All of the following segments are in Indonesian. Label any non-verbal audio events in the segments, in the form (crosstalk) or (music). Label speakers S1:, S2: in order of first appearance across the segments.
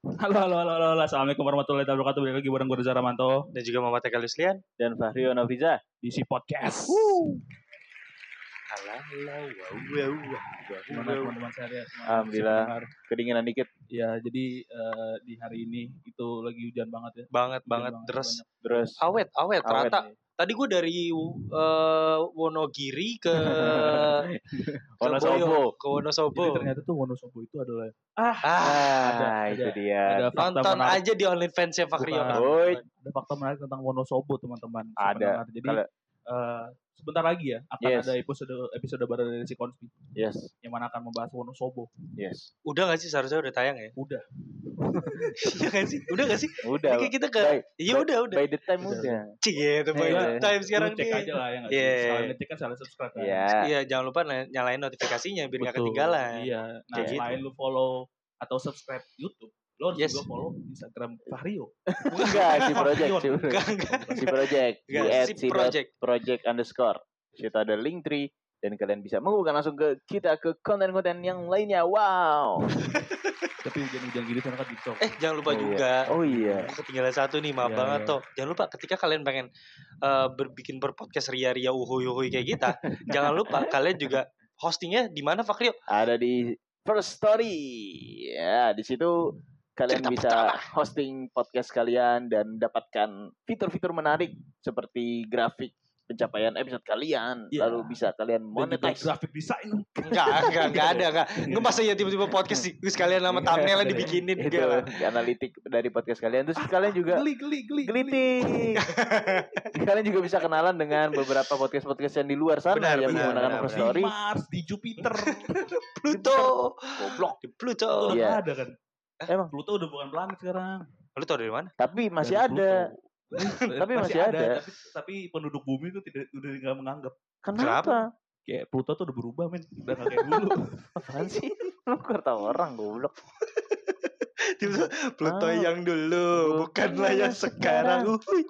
S1: Halo, halo, halo, halo, halo. Assalamualaikum warahmatullahi wabarakatuh. Balik lagi bareng gue Reza Ramanto
S2: dan juga Muhammad Eka Lislian.
S3: dan Fahri Onafiza.
S1: di si podcast.
S2: Alah, alah, wow, wow, wow,
S1: Gimana
S2: wow.
S1: teman-teman saya?
S3: Alhamdulillah. Kedinginan dikit,
S1: Ya, jadi eh, di hari ini itu lagi hujan banget ya.
S2: Banget
S1: Hujan
S2: banget deres.
S1: banyak.
S3: terus
S2: Awet, awet,
S3: awet
S2: ternyata.
S3: nih.
S2: Tadi gue dari eh, Wonogiri ke
S3: Eh,
S2: ke
S3: Wonosobo.
S2: Boyo- ke Wonosobo.
S1: (laughs) Jadi ternyata tuh Wonosobo itu adalah
S3: Eh,
S2: Ah,
S1: Ada,
S3: Ah, itu
S1: ada.
S3: dia.
S1: ada fakta
S2: nonton
S1: menarik.
S2: aja di OnlyFans ya Fakri
S1: Bukan.
S2: Yonan.
S3: Woi,
S1: Ada fakta menarik tentang Wonosobo, teman-teman. Si
S3: Ada.
S1: pendengar. Jadi
S3: Kalau-
S1: eh, sebentar lagi ya akan
S3: Yes.
S1: ada episode episode baru dari si Konspi
S3: yes,
S1: yang mana akan membahas Wonosobo.
S3: yes.
S2: Udah gak sih seharusnya udah tayang ya?
S1: Udah.
S2: Iya gak sih? Udah gak sih? Ini
S3: Udah.
S2: kayak kita ke
S3: By,
S2: Iya udah udah.
S3: by the time
S1: Udah.
S3: udah.
S2: Cie, itu
S3: Iya.
S2: boy. Time sekarang
S1: Lu cek aja
S2: nih.
S1: lah ya nggak
S2: Iya.
S1: sih. Salah ngecek kan salah subscribe. kan?
S3: Iya.
S2: Iya, jangan lupa na- nyalain notifikasinya biar gak
S1: Betul.
S2: ketinggalan.
S1: Iya. Nah,
S2: Kayak gitu.
S1: selain lu follow atau subscribe YouTube, lu harus
S2: Yes.
S1: juga follow Instagram Vario.
S3: Enggak, si project, si project.
S2: Enggak, enggak.
S3: Si project, di
S2: Enggak,
S3: at
S2: si
S3: si dot
S2: project.
S3: project underscore. Kita ada link tree dan kalian bisa menghubungkan langsung ke kita ke konten-konten yang lainnya.
S2: (laughs)
S3: Wow.
S1: Tapi hujan-hujan gini ternyata di TikTok.
S2: Eh, jangan lupa
S3: Oh, iya.
S2: juga
S3: Oh iya.
S2: Gua ketinggalan satu nih, maaf
S1: Iya,
S2: banget
S1: iya.
S2: toh. Jangan lupa ketika kalian pengen eh, berbikin berpodcast ria-ria uhuy-uhuy kayak kita, jangan lupa kalian juga hostingnya di mana Fakrio?
S3: ada di First Story. Ya, di situ
S2: Cerita
S3: kalian bisa
S2: pertama.
S3: hosting podcast kalian dan dapatkan fitur-fitur menarik seperti grafik pencapaian episode kalian,
S1: Iya.
S3: lalu bisa kalian
S1: Dan juga
S3: monetize.
S1: grafik desain.
S2: Enggak,
S1: (laughs)
S2: enggak, enggak ada, enggak.
S1: Iya.
S2: Enggak masa ya tiba-tiba podcast sih, terus kalian sama thumbnailnya dibikinin
S3: Itu
S2: gitu lah.
S3: di analitik dari podcast kalian terus kalian juga
S1: Geli, geli, geli.
S3: gelitik. kalian juga bisa kenalan dengan beberapa podcast-podcast yang di luar sana
S2: Benar,
S3: yang
S2: benar,
S3: menggunakan
S2: benar,
S3: First
S1: Iya, Di
S3: Story.
S1: Mars, di
S3: (laughs)
S1: Jupiter.
S2: Pluto,
S3: Goblok.
S2: di Pluto.
S1: Itu udah
S3: Iya.
S1: nggak ada kan.
S3: Emang?
S1: Pluto udah bukan planet sekarang.
S2: Lu tau dari mana?
S3: Tapi masih
S1: Dari
S3: ada.
S1: Pluto.
S3: (laughs) Tapi masih ada.
S1: Tapi, tapi penduduk bumi itu tidak udah nggak menganggap.
S3: Kenapa?
S1: Kayak Pluto tuh udah berubah men. Udah nggak kayak dulu.
S3: Apaan sih? Lu kata orang goblok.
S2: Tiba-tiba, Pluto
S3: Ah.
S2: yang dulu, bukanlah yang sekarang. Uhuy.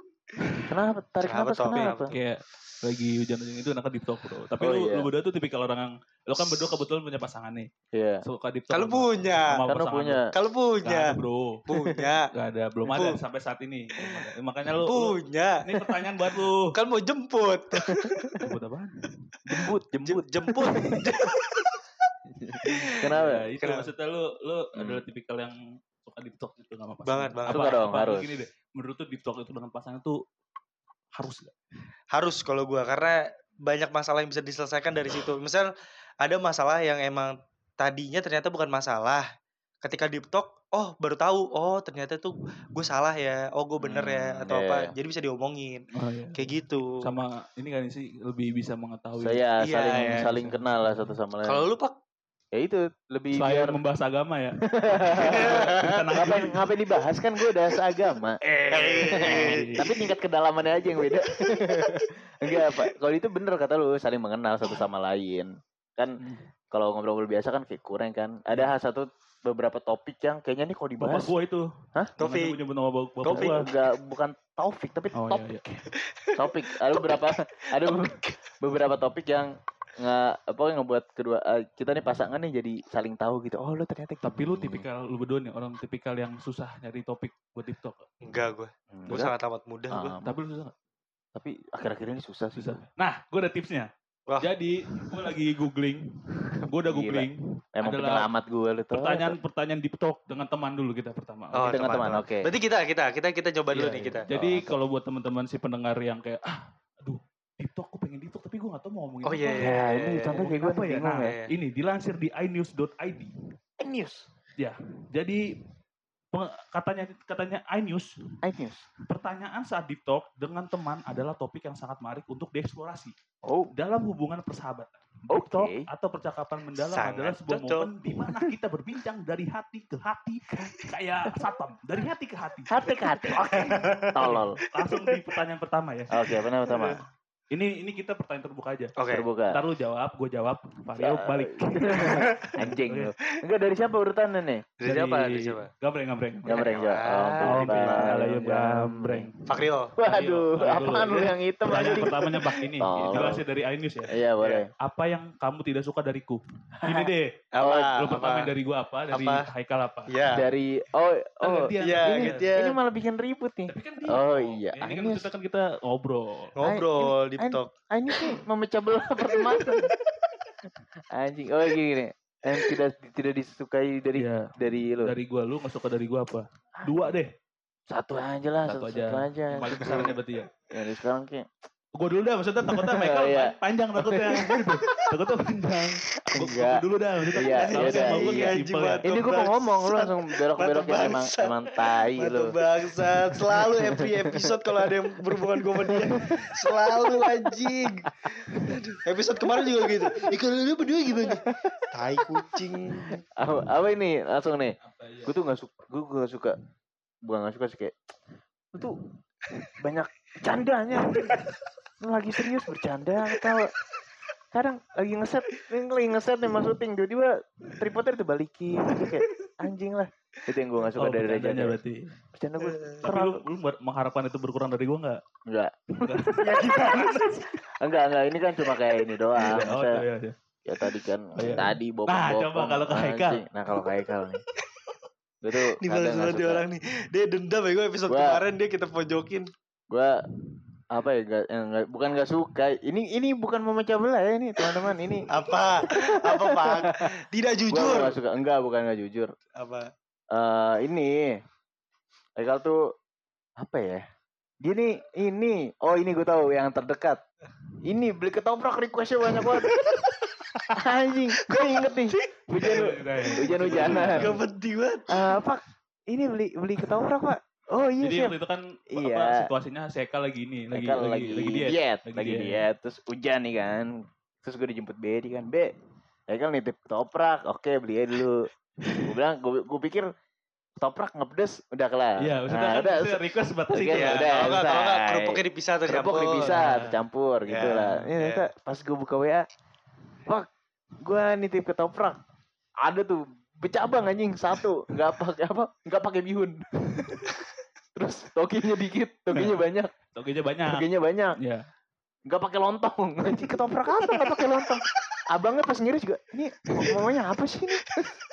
S3: Kenapa? Tarik
S2: Kenapa,
S3: nafas
S2: Tom?
S3: kenapa?
S1: kayak lagi hujan-hujan itu enaknya di TikTok bro. Tapi
S3: Oh,
S1: lu,
S3: iya.
S1: lu berdua tuh tipikal orang yang lu kan berdua kebetulan punya pasangan nih.
S3: Iya.
S1: Suka di TikTok.
S2: Kalau punya,
S3: Karena punya.
S2: kalau
S1: Gak ada
S2: punya,
S1: bro.
S2: punya,
S1: Gak ada, belum ada
S2: Bu.
S1: sampai saat ini. Belum ada. Makanya lu, lu-
S2: punya.
S1: ini pertanyaan buat lu.
S2: Kan mau jemput.
S1: Buat apaan?
S3: Jembut, jembut.
S2: Jem- jemput
S1: Ya,
S3: Kenapa?
S1: Iya, itu
S2: Kenapa?
S1: maksudnya lu lu
S3: Hmm.
S1: adalah tipikal yang suka deep talk gitu sama pasangan.
S2: Banget, banget.
S3: Suka dong, harus.
S1: Gini deh, menurut tuh deep talk itu dengan pasangan tuh harus gak?
S2: harus kalau gua karena banyak masalah yang bisa diselesaikan dari situ misal ada masalah yang emang tadinya ternyata bukan masalah ketika deep talk oh baru tahu oh ternyata tuh gue salah ya oh gue bener ya
S3: Hmm,
S2: atau
S3: iya,
S2: apa
S3: iya.
S2: jadi bisa diomongin kayak gitu
S1: Sama ini kan sih lebih bisa mengetahui.
S3: Saya
S2: Iya,
S3: saling
S2: iya.
S3: saling kenal lah satu sama lain.
S2: kalau lu pak
S3: ya itu lebih
S1: Selain
S3: biar (laughs)
S1: membahas agama
S2: (laughs)
S1: ya.
S3: ngapain ngapain dibahas kan gue udah seagama.
S2: (laughs) eh
S3: Tapi tingkat kedalamannya aja yang beda. (laughs) Enggak apa. Kalau itu bener kata lu saling mengenal satu sama lain. Kan
S1: Hmm.
S3: kalau ngobrol-ngobrol biasa kan kayak kurang kan. Ada satu beberapa topik yang kayaknya nih kalau
S1: Bapak
S3: dibahas
S1: gua itu.
S3: Hah?
S2: Taufik.
S1: Jangan nyebut nama bapak bapak
S2: Taufik.
S1: gua.
S3: enggak bukan Taufik tapi
S1: Oh
S3: topik.
S1: iya, iya.
S3: topik ada beberapa ada be- beberapa topik yang nggak apa yang ngebuat kedua eh, kita nih pasangan nih jadi saling tahu gitu oh lu ternyata gitu.
S1: Tapi lu
S3: Hmm.
S1: tipikal lu berdua nih orang tipikal yang susah nyari topik buat TikTok.
S2: enggak gue
S3: Hmm,
S2: gue
S3: kan?
S2: sangat amat muda gue
S3: Ah,
S1: Tapi lu susah gak?
S3: tapi akhir-akhir ini susah sih
S1: Susah. Nah, gue ada tipsnya.
S2: Wah.
S1: Jadi, gue lagi googling. Gue udah
S3: Gila.
S1: googling.
S3: emang
S1: Adalah
S3: penyelamat gue lu tuh
S1: Pertanyaan-pertanyaan deep talk dengan teman dulu kita pertama.
S2: Oh,
S3: dengan teman
S2: teman-teman.
S3: oke
S2: berarti kita kita kita kita coba dulu
S1: Iya,
S2: nih
S1: iya.
S2: kita
S1: Jadi
S3: Oh.
S1: kalau buat teman-teman si pendengar yang kayak ah, aduh, deep talk, gue pengen deep talk tapi gue gak tau mau ngomongin
S2: Oh,
S1: apa.
S2: iya, iya.
S3: ya ini contoh kayak gue
S1: Apa ya?
S3: bingung
S1: Nah,
S3: ya
S2: Iya.
S1: Ini dilansir di inews.id.
S3: iNews
S1: Jadi peng- katanya katanya iNews,
S3: iNews
S1: pertanyaan saat deep talk dengan teman adalah topik yang sangat menarik untuk dieksplorasi
S3: oh
S1: dalam hubungan persahabatan. Deep
S3: Oke.
S1: talk atau percakapan mendalam
S2: Sangat
S1: adalah sebuah
S2: cocok.
S1: momen di mana kita berbincang dari hati ke hati kayak satam, dari hati ke hati. (laughs)
S3: hati ke hati oke tolol
S1: Langsung di pertanyaan pertama ya.
S3: oke benar pertama
S1: Ini ini kita pertanyaan terbuka aja.
S2: Oke.
S3: terbuka.
S1: Ntar lu jawab, gue jawab, Vario balik.
S3: (laughs) Anjing lu. Enggak dari siapa urutannya nih?
S2: Dari siapa? Dari siapa?
S1: Gambreng, gambreng.
S2: Gambreng.
S3: Gambreng jawab.
S1: Oh,
S3: gambreng.
S1: gambreng. Gambreng.
S2: Fakrio.
S1: Ayo,
S3: Waduh,
S1: ayo
S3: apaan
S1: dulu.
S3: lu yang hitam
S1: Pertanyaan
S3: anjing?
S1: pertamanya Bang ini.
S3: Tolong.
S1: Jelasnya dari Ainus ya.
S3: Iya, boleh.
S1: Apa yang kamu tidak suka dariku? Ini
S3: (laughs)
S1: deh.
S2: Apa?
S1: Lu
S2: apa?
S1: pertama dari gua apa? Dari
S2: Apa?
S1: Haikal apa?
S2: Iya.
S3: Dari oh oh
S1: Gantian.
S2: Iya,
S3: ini,
S2: gantian.
S3: ini malah bikin ribut nih.
S1: Tapi kan dia.
S3: Oh, iya.
S1: Ini kan
S3: Ainus.
S1: kita kan kita ngobrol.
S2: Ngobrol di
S3: An-
S2: TikTok.
S3: Ah, ini sih memecah belah (laughs) pertemanan. Anjing, oh gini gini. Yang tidak tidak disukai dari
S1: Iya.
S3: dari lu.
S1: Dari gua lu nggak suka dari gua apa? Dua deh.
S3: Satu aja lah,
S1: Satu
S3: satu,
S1: aja.
S3: aja. Satu aja.
S1: Yang Paling besarnya berarti ya.
S3: Yang sekarang kayak
S1: Gua dulu dah maksudnya
S3: (laughs)
S1: takutnya Michael
S3: Oh, iya.
S1: panjang
S3: (laughs)
S1: takutnya. takutnya panjang. Gua, gua
S3: Enggak.
S1: dulu dah maksudnya.
S3: Iya,
S1: Sama-
S3: iya,
S1: sama gua
S3: iya,
S1: kayak
S2: anjing
S1: simpel ya.
S2: banget.
S3: ini gue mau ngomong lu langsung belok-belok
S2: Mata
S3: ya emang
S2: bangsat.
S3: emang tai
S2: Mata
S3: lu.
S2: bangsat. Selalu every episode kalau ada yang berhubungan gue sama dia. Selalu anjing. Episode kemarin juga gitu. Ikut lu berdua gimana? Tai kucing.
S3: Apa, apa ini langsung nih?
S1: Apa iya?
S3: Gue tuh gak suka, gue gak suka, bukan gak suka sih kayak lu tuh banyak candanya. Lu lagi serius bercanda atau kadang lagi ngeset, ini lagi ngeset nih mas syuting tiba-tiba tripodnya dibalikin gitu kayak anjing lah. Itu yang gue gak
S1: Oh,
S3: suka dari Reja.
S1: bercandanya berarti.
S3: Bercanda gue
S1: Tapi
S3: terlalu
S1: lu, lu mengharapkan itu berkurang dari gua nggak?
S3: enggak.
S1: Iya,
S2: Ya gimana sih?
S3: Enggak, enggak, ini kan cuma kayak ini doang.
S1: Oh,
S3: Maksudnya-
S1: iya, iya.
S3: ya tadi kan
S1: Iya.
S3: tadi bopong
S1: Nah, coba kalau ke Haikal.
S3: nah kalau ke Haikal nih gue tuh
S2: Ini balas banget dia orang nih. Dia dendam ya gue episode
S3: Gua-
S2: kemarin dia kita pojokin.
S3: gue apa ya gak, yang nggak- bukan gak suka ini ini bukan memecah belah ya ini teman-teman ini
S2: Apa? Apa Pak? Tidak
S3: gue
S2: jujur.
S3: gak suka enggak bukan gak jujur
S2: Apa?
S3: Eh ini Haikal tuh apa ya dia nih ini oh ini gue tahu yang terdekat ini beli ketoprak requestnya banyak banget anjing gue inget nih hujan Hujan-hujanan.
S2: Gak penting banget.
S3: Eh pak ini beli beli ketoprak pak oh iya
S1: Jadi
S3: siap
S1: waktu itu kan
S3: Iya.
S1: apa, situasinya si Eka lagi ini, lagi lagi,
S3: Mereka
S1: lagi, diet.
S3: lagi, Iya.
S1: lagi
S3: diet.
S1: diet.
S3: terus hujan nih kan terus gue dijemput Be kan Be ya kan nitip toprak oke beli aja dulu gue bilang gue, gue pikir toprak nggak pedes udah kelar
S1: Iya, maksudnya
S3: Nah,
S1: kan
S3: udah
S1: maksudnya request batas
S3: Oke,
S1: itu ya.
S3: udah.
S2: Kalau nggak kalau nggak
S3: selesai.
S2: kerupuknya dipisah atau
S3: kerupuk
S2: campur.
S3: dipisah
S1: Nah.
S3: tercampur gitu
S2: Ya,
S3: lah
S1: iya.
S3: ini
S2: ya.
S3: ternyata pas gue buka WA pak gue nitip ke toprak ada tuh becabang anjing satu nggak pakai apa nggak pakai bihun (laughs) terus tokinya dikit tokinya
S1: Nah.
S3: banyak
S1: Togenya banyak.
S3: tokinya banyak
S1: Iya.
S3: nggak pakai lontong nanti ketoprak apa nggak pakai lontong abangnya pas ngiris juga ini ngomongnya apa sih ini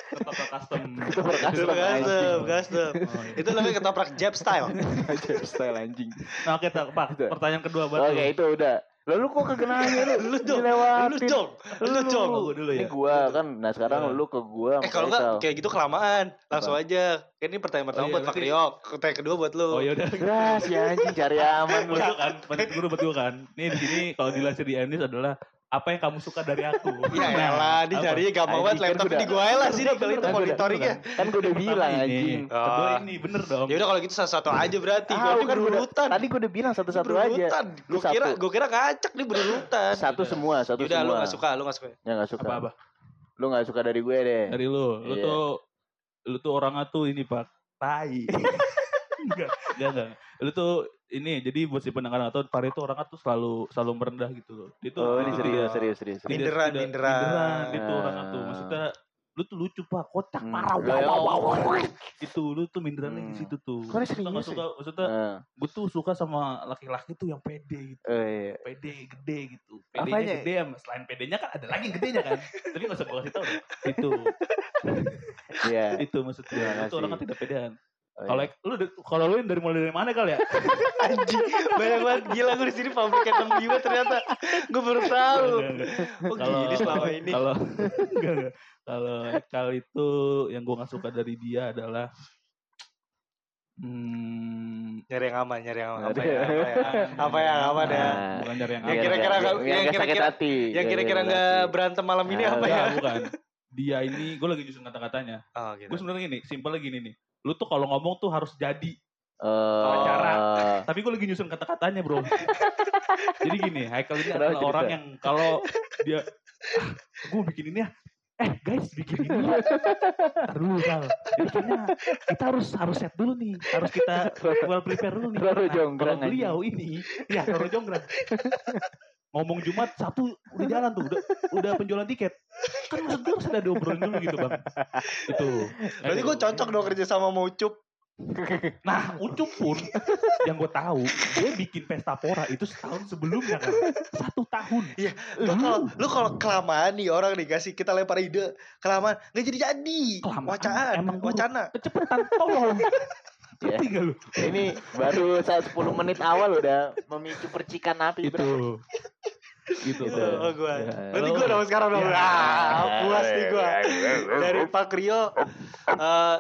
S1: Ketoprak custom.
S3: (laughs) Ketoprak custom,
S2: Custom,
S3: anjing.
S2: custom.
S1: Oh, iya.
S2: Itu namanya ketoprak jab style.
S3: aja style anjing
S1: Nah, oke, tak, Pak.
S3: Itu.
S1: Pertanyaan kedua buat
S3: oke itu udah lalu kok kegenanya lu
S2: Lu dong,
S3: dilewatin
S2: Lu dong, lu dong.
S1: Gua dulu ya.
S3: ini gua kan nah sekarang
S1: Iya.
S3: lu ke gua
S2: Eh kalau
S3: nggak
S2: nggak kayak gitu kelamaan, langsung aja. Kan ini pertanyaan pertama
S1: iya,
S2: buat Pak
S1: berarti-
S2: Rio, pertanyaan kedua buat lu.
S1: Oh, ya udah.
S3: Gas ya anjing cari aman lu.
S1: Buat gua kan, pertanyaan kedua buat gua kan. Nih di sini kalau dilansir di Anis adalah apa yang kamu suka dari aku? Nah,
S2: Ya elah, ini
S1: apa? Nah,
S2: carinya gampang
S3: Ayo,
S2: banget
S3: kan
S2: lah. Tapi
S3: udah-
S2: di gua aja lah sini kalau itu
S1: Bener,
S2: monitoringnya.
S1: bener,
S3: Kan gua udah
S2: Iya.
S1: Pertama
S3: bilang
S1: Nah, ini,
S3: anjing.
S1: Kedua
S2: Ah.
S1: ini bener dong.
S2: Ya udah kalau gitu satu-satu aja berarti.
S3: Ah,
S2: Kalau ini
S3: kan udah-
S2: berurutan.
S3: Tadi gua udah bilang satu-satu aja.
S2: Berurutan. Gua
S3: Satu.
S2: kira gua kira kacak nih berurutan.
S3: Satu
S1: Udah.
S3: semua, satu
S2: Yaudah lu
S3: semua.
S2: nggak suka, lu nggak suka.
S3: Ya enggak suka.
S1: Apa-apa.
S3: Lu nggak suka dari gue deh.
S1: Dari lu. Lu
S3: Iya.
S1: tuh lu tuh orangnya tuh ini, Pak.
S3: (laughs)
S1: Tai. enggak, enggak, enggak. Lu tuh ini jadi buat si pendengar atau Pari tuh orangnya tuh selalu selalu merendah gitu loh. Dia tuh
S3: Oh,
S1: dia
S3: ini
S1: tuh
S3: serius,
S2: Iya.
S1: tidak-
S3: serius, serius.
S1: tidak-
S2: Minderan,
S1: tidak-
S2: minderan.
S1: Gitu orangnya tuh. Maksudnya lu tuh lucu pak, kocak
S3: Hmm.
S1: parah,
S3: Lah,
S1: wow,
S3: ya.
S1: wow, wow, wow. gitu, lu tuh minderannya di
S3: Hmm.
S1: situ tuh.
S3: Kok ini
S1: Maksudnya nggak
S3: serius
S1: suka, maksudnya
S3: Heeh.
S1: gue tuh suka sama laki-laki tuh yang pede gitu.
S3: Eh, iya.
S1: Pede, gede gitu. Pedenya
S3: Apanya?
S1: gede, sama- selain pedenya kan ada lagi gedenya
S3: (laughs)
S1: kan. Tapi gak usah gue kasih tau deh. Gitu. Itu,
S3: Iya.
S1: (laughs) itu maksud gue.
S3: Iya,
S1: Itu
S3: sih.
S1: orang kan tidak pedean.
S3: Oh, iya.
S1: Kalau lu kalau lu dari mulai dari mana
S2: (laughs)
S1: kali ya?
S2: Anjing, banyak banget gila gua di sini public enemy banget ternyata. Gua baru
S3: Iya,
S2: tahu. Oh,
S1: Kalau-
S2: gini selama ini.
S1: Kalau (laughs) enggak, enggak. kalau Ekal itu yang gue nggak suka dari dia adalah hmm,
S2: Nyari yang aman, nyari yang aman. Apa
S3: Nyari
S2: ya?
S3: yang
S2: Apa ya? Apa yang aman ya?
S3: Nah.
S1: Ah, bukan dari gitu. yang
S2: Yang
S1: aman.
S2: kira-kira
S3: Yang-
S2: kalau- yang Iya,
S3: yang sakit
S2: kira-kira-
S3: hati.
S2: Yang kira-kira
S3: sakit
S2: nggak
S3: hati.
S2: berantem malam ini
S3: Nah,
S2: apa ya?
S1: Enggak, bukan. Dia ini gue lagi nyusun kata-katanya.
S2: Oh, gitu.
S1: Gue sebenarnya gini, simpelnya gini nih. Lu tuh kalau ngomong tuh harus jadi.
S3: Eh,
S1: Pacara. Tapi gue lagi nyusun kata-katanya bro. Jadi gini, Haikal ini
S3: Kenapa
S1: adalah
S3: jadi
S1: orang
S3: saya?
S1: yang kalau dia, ah, gue bikin ini ya, eh guys bikin ini ya. Ntar dulu Sal. Jadi kayaknya kita harus harus set dulu nih. Harus kita well prepare dulu nih.
S3: Terlalu
S1: Nah,
S3: jonggrang
S1: Kalau beliau ini, ya terlalu jonggrang. Ngomong Jumat, Sabtu udah jalan tuh, udah, udah penjualan tiket. Kan maksud gue harus ada diobrolin dulu gitu bang. Gitu. Itu.
S2: Berarti gue cocok
S1: Iya.
S2: dong kerja sama mau cup.
S1: Nah, Ucup pun yang gue tahu dia bikin pesta pora itu setahun sebelumnya kan, satu tahun.
S2: Iya, Lu kalau
S1: Hmm.
S2: lu kalau kelamaan nih orang dikasih kita lempar ide kelamaan nggak jadi jadi.
S1: Kelamaan,
S2: Wacaan,
S1: emang buruk.
S2: wacana.
S1: Kecepetan, tolong.
S3: Ya.
S1: Ngerti gak lu?
S3: Ini baru saat 10 menit awal udah memicu percikan api.
S1: Itu.
S3: Bro.
S1: Gitu.
S3: Gitu.
S2: Oh, gua.
S1: Ya,
S2: Berarti
S1: lu-
S2: gue dong sekarang dong.
S1: Ya.
S2: Ah, puas nih gue.
S1: Iya,
S2: Dari Pak Rio, eh,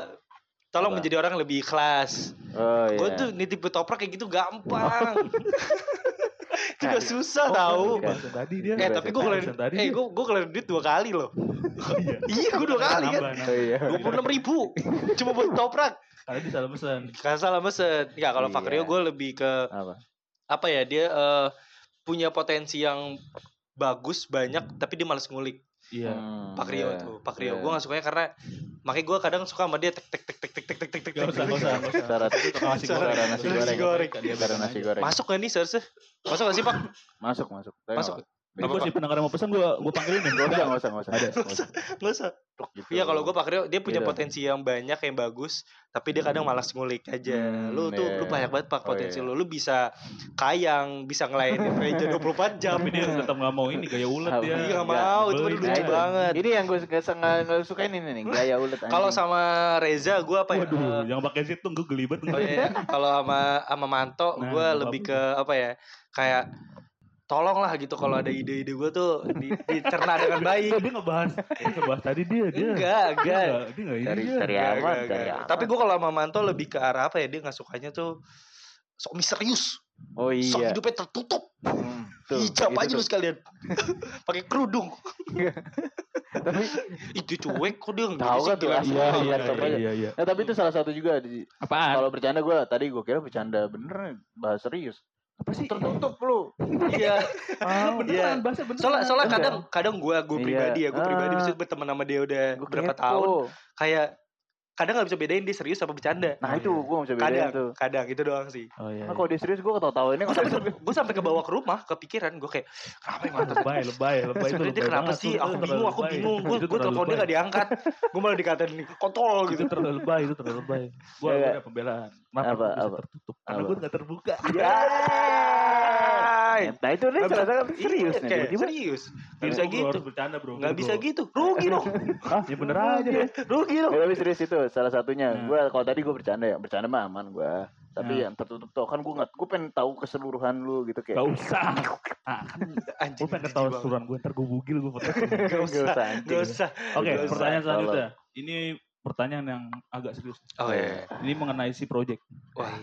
S2: tolong
S3: Apa?
S2: menjadi orang yang lebih ikhlas.
S3: Oh iya.
S2: Gue tuh nitip ketoprak kayak gitu
S1: (laughs)
S2: gampang. (laughs) Itu udah susah
S1: Oh,
S2: tahu.
S1: kan, barusan tadi dia.
S2: Eh tapi gue
S1: Barusan
S2: keluarin,
S1: tadi
S2: eh
S1: dia.
S2: gue gue keluarin duit dua kali loh.
S1: Iya.
S2: (laughs) iya gue dua kali kan.
S1: Nambah, nambah.
S3: Oh iya.
S2: Dua puluh
S1: (laughs)
S2: ribu, cuma buat toprak.
S1: Karena dia salah pesan. Iya.
S2: Gak salah mesen. Enggak kalau Pak Rio
S3: Iya.
S2: gue lebih ke
S3: Apa?
S2: apa ya dia eh, punya potensi yang bagus banyak tapi dia males ngulik
S1: Iya.
S3: Hmm,
S2: Pak Rio
S3: iya,
S2: tuh Pak Rio
S3: iya.
S2: gue gak sukanya karena makanya gue kadang suka sama dia tek tek tek tek tek tek tek tek tek
S1: Gak usah, gak usah, gak usah.
S3: Cara
S1: Tukang nasi
S2: Cara-
S1: goreng.
S3: cara nasi
S1: Tukang
S3: goreng.
S1: Dia
S3: cara
S1: bilang
S3: nasi
S1: aja.
S3: goreng.
S2: masuk gak nih seharusnya masuk gak sih Pak
S3: Masuk, masuk. Tapi nggak
S2: Masuk.
S3: apa-apa.
S1: Ini gue
S2: Apa-apa.
S1: sih pendengar mau pesan gue gue panggilin nih.
S3: Nggak usah, nggak usah, nggak usah.
S1: Ada.
S3: Nggak usah.
S2: gak usah
S3: Gitu.
S2: iya kalau gue Pak Rio dia punya
S3: Gitu.
S2: potensi yang banyak yang bagus tapi dia kadang malas ngulik aja
S3: Hmm,
S2: lu tuh
S3: iya.
S2: lu banyak banget Pak
S3: Oh,
S2: potensi
S3: iya.
S2: lu lu bisa kayang bisa ngelayanin gereja 24 jam
S1: Tapi dia tetap gak mau ini gaya ulet dia.
S3: Iya,
S2: Iya gak mau itu kan
S1: Beli.
S2: lucu
S3: Iya.
S2: banget
S3: Ini yang gue suka nggak suka ini nih, gaya ulet. anjing.
S2: kalau sama Reza gue apa ya eh,
S1: Waduh, yang pakai situng gue gelibet.
S2: Oh iya, kalau sama sama
S1: Nah,
S2: Manto gue
S1: nggak
S2: lebih ke apa ya? Kayak tolonglah gitu kalau ada ide-ide gue tuh di, dicerna
S1: (laughs)
S2: dengan baik.
S1: Dia ngebahas, dia ngebahas tadi dia dia.
S2: Enggak,
S1: Dia
S2: enggak.
S3: Ya,
S1: nggak- Dia Iya, nggak ini
S3: Dari-
S1: dia.
S3: dari
S2: Enggak,
S3: aman,
S2: enggak,
S3: dari
S2: enggak.
S3: aman.
S2: Tapi gue kalau sama Manto lebih ke arah apa ya? Dia nggak sukanya tuh sok misterius,
S3: Oh
S2: sok
S3: iya.
S2: hidupnya tertutup,
S3: Hmm, tuh,
S2: hijab
S3: gitu
S2: aja lu
S3: tuh.
S2: sekalian, (laughs) pakai kerudung. (laughs)
S3: Tapi
S2: Itu cuek kok dia
S3: Tahu
S2: sih,
S3: kan tuh
S2: gila.
S3: asli.
S1: Iya, iya, iya,
S3: Iya, iya,
S1: iya, iya.
S3: Nah, tapi itu salah satu juga di
S1: Apaan?
S3: kalau bercanda gue tadi gue kira bercanda bener bahas serius.
S1: Apa sih?
S3: Tertutup lu.
S2: Iya.
S1: Ah,
S2: Iya.
S1: beneran, bahasa beneran.
S2: Soalnya, soalnya
S3: Enggak.
S2: kadang kadang gue gue
S3: Iya.
S2: pribadi ya gue pribadi
S3: Ah.
S2: maksudnya berteman sama dia udah
S3: Gua
S2: berapa
S3: kepo.
S2: tahun kayak kadang nggak bisa bedain dia serius apa bercanda.
S3: Nah, itu gue gak bisa
S2: kadang
S3: bedain tuh.
S2: kadang itu doang sih
S1: Oh iya.
S3: Nah, kalau dia serius gue ketawa-tawainnya
S2: gue
S3: kalau
S2: sampai ke, gua sampai ke bawah ke rumah kepikiran gue kayak kenapa yang mantan
S1: lebay, lebay, lebay.
S2: sebenarnya dia kenapa sih aku bingung aku bingung gue gue telepon dia gak
S1: dia.
S2: diangkat gue malah dikatain
S3: (laughs)
S2: kontol
S1: Itu
S2: gitu
S1: terlalu lebay, itu terlalu lebay. Gue
S3: Iya,
S1: ada pembelaan. Kenapa
S3: Apa,
S1: gua bisa
S3: apa?
S1: tertutup? Karena
S3: Apa?
S1: gue gak terbuka.
S2: Yeay.
S3: Iya. Nah itu dia
S2: Nggak bisa-
S3: cerita kan
S2: Iya,
S3: serius nih
S2: kayak
S3: tiba-tiba.
S2: serius nggak bisa
S1: Gua
S2: gitu
S1: harus bercanda bro.
S2: nggak
S1: Gua-
S2: bisa gitu Ah, rugi
S3: (laughs)
S2: dong
S1: Hah, ya bener aja.
S2: rugi dong
S3: Ya, tapi serius itu salah satunya.
S2: Hmm.
S1: Nah.
S3: Gue kalau tadi gue bercanda ya, bercanda mah aman gue. Tapi
S1: Nah.
S3: yang tertutup tuh kan gue nggak, gue pengen tahu keseluruhan lu gitu kayak.
S1: Gak usah.
S2: anjing
S1: Gue pengen
S2: jijik
S1: ketawa
S2: banget.
S1: suran gue, ntar gue bugil gue.
S2: (laughs) nggak
S3: (laughs) Nggak
S2: usah
S3: usah, anjing.
S2: nggak usah
S1: Oke,
S2: Nggak usah.
S1: pertanyaan selanjutnya. Ini pertanyaan yang agak serius.
S2: oh iya
S1: Ini mengenai si project.
S2: wah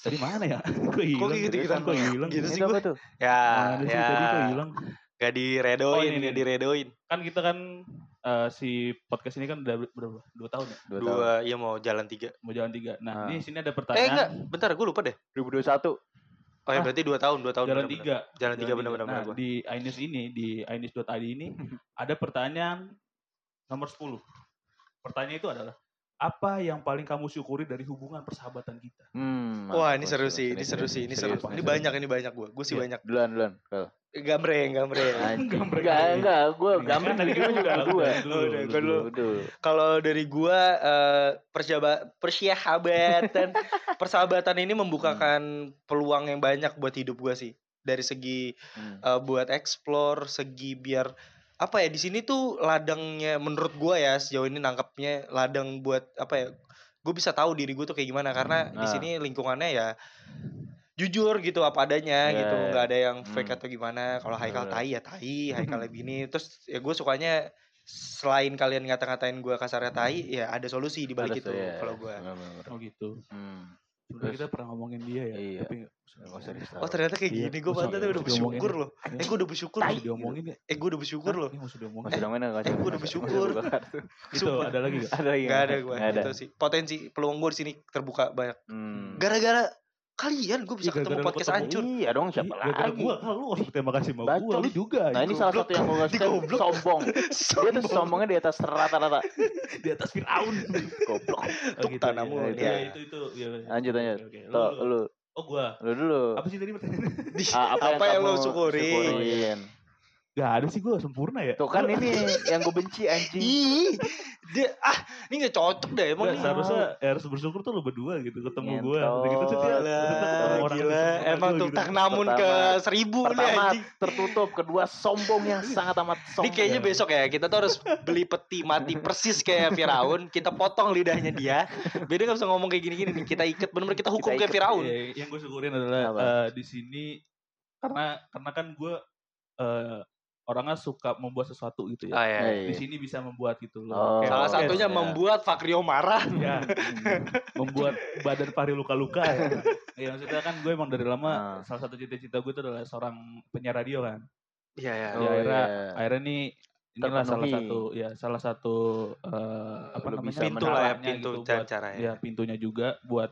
S1: Tadi mana ya? (laughs) Gue
S2: kok
S1: hilang.
S2: gitu
S1: seriusan,
S2: kita
S1: gua hilang.
S2: gitu sih
S3: Itu apa
S2: gue
S3: tuh?
S2: ya
S3: Nah,
S1: Mana sih
S2: ya
S1: tadi gue hilang.
S2: gak
S1: Oh,
S2: diredoin
S1: ini,
S2: gak
S1: ini.
S2: diredoin
S1: Kan kita kan eh, si podcast ini kan udah ber- berapa? Dua tahun ya?
S3: Dua, tahun.
S2: dua ya mau jalan tiga
S1: Mau jalan tiga. Nah,
S3: Ah.
S1: ini sini ada
S2: eh enggak
S1: pertanyaan.
S2: bentar gue lupa deh
S3: 2021.
S2: Oh ya
S1: Ah.
S2: berarti 2 tahun, 2 tahun.
S1: jalan
S2: benar-benar.
S1: tiga.
S2: Jalan tiga
S1: Jalan
S2: benar-benar
S1: Nah,
S2: benar gua.
S1: di iNews ini, di iNews.id ini ada pertanyaan nomor 10. Pertanyaan itu adalah apa yang paling kamu syukuri dari hubungan persahabatan kita?
S3: Hmm,
S2: Wah
S3: mampus,
S2: ini seru
S3: serius,
S2: sih, ini seru sih, ini seru.
S3: serius,
S2: Ini banyak, ini banyak gua. Gua sih
S1: Iya.
S2: banyak.
S3: Duluan, duluan. Kalau.
S2: Gambreng, gambreng.
S3: Anjing.
S1: Gambreng.
S3: Enggak, enggak, gue gambar
S1: Kan
S3: dari
S1: kan
S3: gue juga
S1: udah-
S3: gue.
S1: udah
S2: Oh, udah,
S1: dulu,
S2: gua
S1: dulu.
S2: dulu. Kalau dari gua eh, persyaba-
S3: (laughs)
S2: persahabatan persahabatan ini membukakan peluang yang banyak buat hidup gua sih. Dari segi
S3: Hmm.
S2: eh, buat explore, segi biar apa ya di sini tuh ladangnya menurut gua ya sejauh ini nangkapnya ladang buat apa ya gue bisa tahu diri gue tuh kayak gimana karena
S1: Hmm,
S2: di
S3: Ah.
S2: sini lingkungannya ya jujur gitu apa adanya
S1: Iya,
S3: Ya,
S2: gitu
S3: ya.
S2: nggak ada yang fake
S3: Hmm.
S2: atau gimana kalau Haikal
S3: Bener.
S2: tai ya
S1: (laughs)
S2: tai Haikal begini terus ya gue sukanya selain kalian ngata-ngatain gue kasarnya tai ya ada solusi di balik
S3: Balas
S2: itu
S3: tuh,
S1: iya,
S3: ya.
S2: kalau gue
S3: Bener, bener, bener.
S1: Oh gitu.
S3: Hmm.
S1: Sebenarnya
S3: Terus?
S1: kita pernah ngomongin dia ya.
S3: Iya.
S1: Tapi nggak-
S3: Nggak usah ditaruh.
S2: oh ternyata kayak
S1: Iya,
S2: gini gue
S1: gua
S2: pantas
S1: sama-
S2: udah
S1: gua diomongin
S2: bersyukur
S1: ya.
S2: loh eh gue udah bersyukur
S1: Tai
S2: loh.
S1: diomongin ya.
S2: eh gue udah bersyukur loh
S1: Ini harus diomongin.
S3: Masih dong, enggak
S2: eh, gua udah bersyukur.
S1: Itu
S2: Sumpah.
S1: ada gitu lagi nggak?
S3: Ada lagi.
S2: Gak Iya, ada gue
S3: Nggak ada.
S2: itu sih potensi peluang gue di sini terbuka banyak
S3: Hmm.
S2: gara-gara kalian gue bisa
S1: Iya,
S2: ketemu
S1: gara-gara lu
S2: podcast
S1: ketemu.
S2: hancur
S3: Iya dong siapa
S1: Gara-gara
S3: lagi.
S1: gua kan lu harus berterima kasih sama gua,
S3: Bacot.
S1: lu juga. ya.
S3: Nah ini
S1: anjing.
S3: salah satu yang gue kasih tau,
S2: Digoblok. (laughs)
S3: sombong. Dia
S2: Sombong.
S3: tuh sombongnya di atas rata-rata.
S1: di atas Firaun.
S3: Goblok.
S1: (laughs) Oh, gitu,
S2: tanamu,
S1: iya,
S2: ya.
S1: Itu itu iya.
S3: Lanjut, lanjut.
S1: Oke, oke. Lu-
S3: Tuh,
S1: lu.
S3: lu,
S1: Oh, gua.
S3: lu dulu.
S1: Apa sih tadi
S3: (laughs)
S1: pertanyaannya?
S2: Di-
S3: Ah,
S2: apa, yang, lo
S3: kamu
S2: syukurin
S3: syukurin?
S1: Gak ada sih gua sempurna ya.
S3: Tuh kan ini yang gue benci anjing.
S2: Ih, dia ah ini nggak cocok deh emang
S1: Gak,
S2: nih.
S1: seharusnya ya, harus bersyukur tuh lu berdua gitu ketemu
S3: Ngentot.
S1: gua gitu, gitu tuh dia
S2: Gila,
S1: dia tuh ketemu orang yang
S2: gila.
S1: sempurna
S2: Emang
S1: gua
S2: tuh
S1: gitu.
S2: tak namun ke
S3: Pertama-
S2: seribu nih
S3: Pertama
S2: Iya, anjing.
S3: tertutup, kedua sombong yang sangat amat
S2: Ini
S3: sombong.
S2: kayaknya besok ya kita tuh harus beli peti mati persis kayak Firaun. Kita potong lidahnya dia. Beda nggak bisa ngomong kayak gini-gini nih. Kita ikat bener-bener kita hukum kayak
S3: Kita ikat,
S2: Firaun.
S1: Iya, yang gue syukurin adalah
S3: Apa?
S1: eh, di sini karena karena kan gue eh, orangnya suka membuat sesuatu gitu ya.
S2: Oh, iya.
S1: Di
S3: Iya,
S1: sini bisa membuat gitu loh.
S3: Oh.
S1: Kayak
S2: Salah
S1: podcast,
S2: satunya
S3: iya.
S2: membuat Fakrio marah.
S1: (laughs) ya, membuat badan pari luka-luka ya. Iya, maksudnya kan gue emang dari lama
S3: Ah.
S1: salah satu cita-cita gue itu adalah seorang penyiar radio kan.
S2: Iya ya.
S1: Ya,
S3: Oh,
S1: akhirnya,
S3: iya.
S1: akhirnya nih inilah salah
S3: Terpenuhi.
S1: satu ya salah satu eh, apa
S3: Lu
S1: namanya
S3: bisa
S2: Pintu lah ya,
S1: menaranya
S2: pintu
S1: gitu buat-
S2: cara
S1: ya pintunya juga buat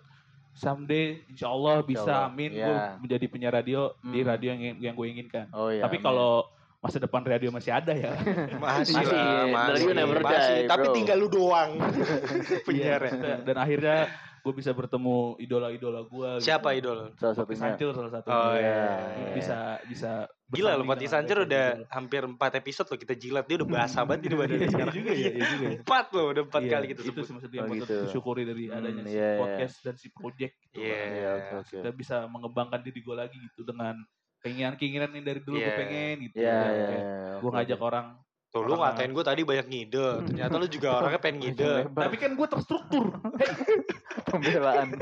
S1: someday insya Allah bisa
S3: Allah,
S1: amin
S3: ya.
S1: gue menjadi penyiar radio di
S3: Hmm.
S1: radio yang yang gue inginkan
S3: Oh iya.
S1: tapi kalau masa depan radio masih ada
S3: (laughs)
S1: ya
S2: Masih, lah,
S3: Masih, iya.
S2: masih,
S1: Radio never
S2: masih.
S3: die,
S2: Tapi
S3: bro.
S2: tinggal lu (laughs) doang ya.
S1: Iya,
S3: ya.
S2: penyiarnya.
S1: maksudnya- dan akhirnya gue bisa bertemu idola-idola gue
S2: Siapa idol?
S3: salah
S1: Pati
S3: satunya.
S1: Sancur salah satu
S2: Oh, iya,
S3: iya.
S1: bisa bisa
S2: Gila
S1: bertanding
S2: lu Pati
S1: dengan
S2: Sancer
S1: mereka
S2: udah
S1: gitu.
S2: hampir 4 episode loh kita jilat. Dia udah basah banget ini
S1: Iya
S2: badannya sekarang.
S1: juga ya, iya juga ya.
S2: Empat loh, udah (laughs) empat
S1: Iya,
S2: kali kita
S1: itu
S2: sebut.
S1: sih maksudnya yang
S3: Oh,
S1: patut
S3: gitu.
S1: disyukuri dari
S3: Hmm,
S1: adanya si
S3: iya, iya.
S1: podcast dan si project gitu
S2: Iya.
S1: kan.
S3: Iya, oke oke.
S1: Kita bisa mengembangkan diri gue lagi gitu dengan keinginan-keinginan yang dari dulu gue
S2: Iya.
S1: pengen gitu.
S3: Iya, iya.
S1: Kayak
S3: iya,
S1: Gue
S3: oke,
S1: ngajak
S3: oke.
S1: orang.
S2: Tuh lu
S1: Orang-
S2: ngatain gue tadi banyak ngide. Ternyata lu (laughs) juga orangnya pengen ngide.
S3: Lebar.
S1: Tapi kan gue terstruktur. (laughs)
S3: (laughs)
S1: gitu.
S3: pembelaan.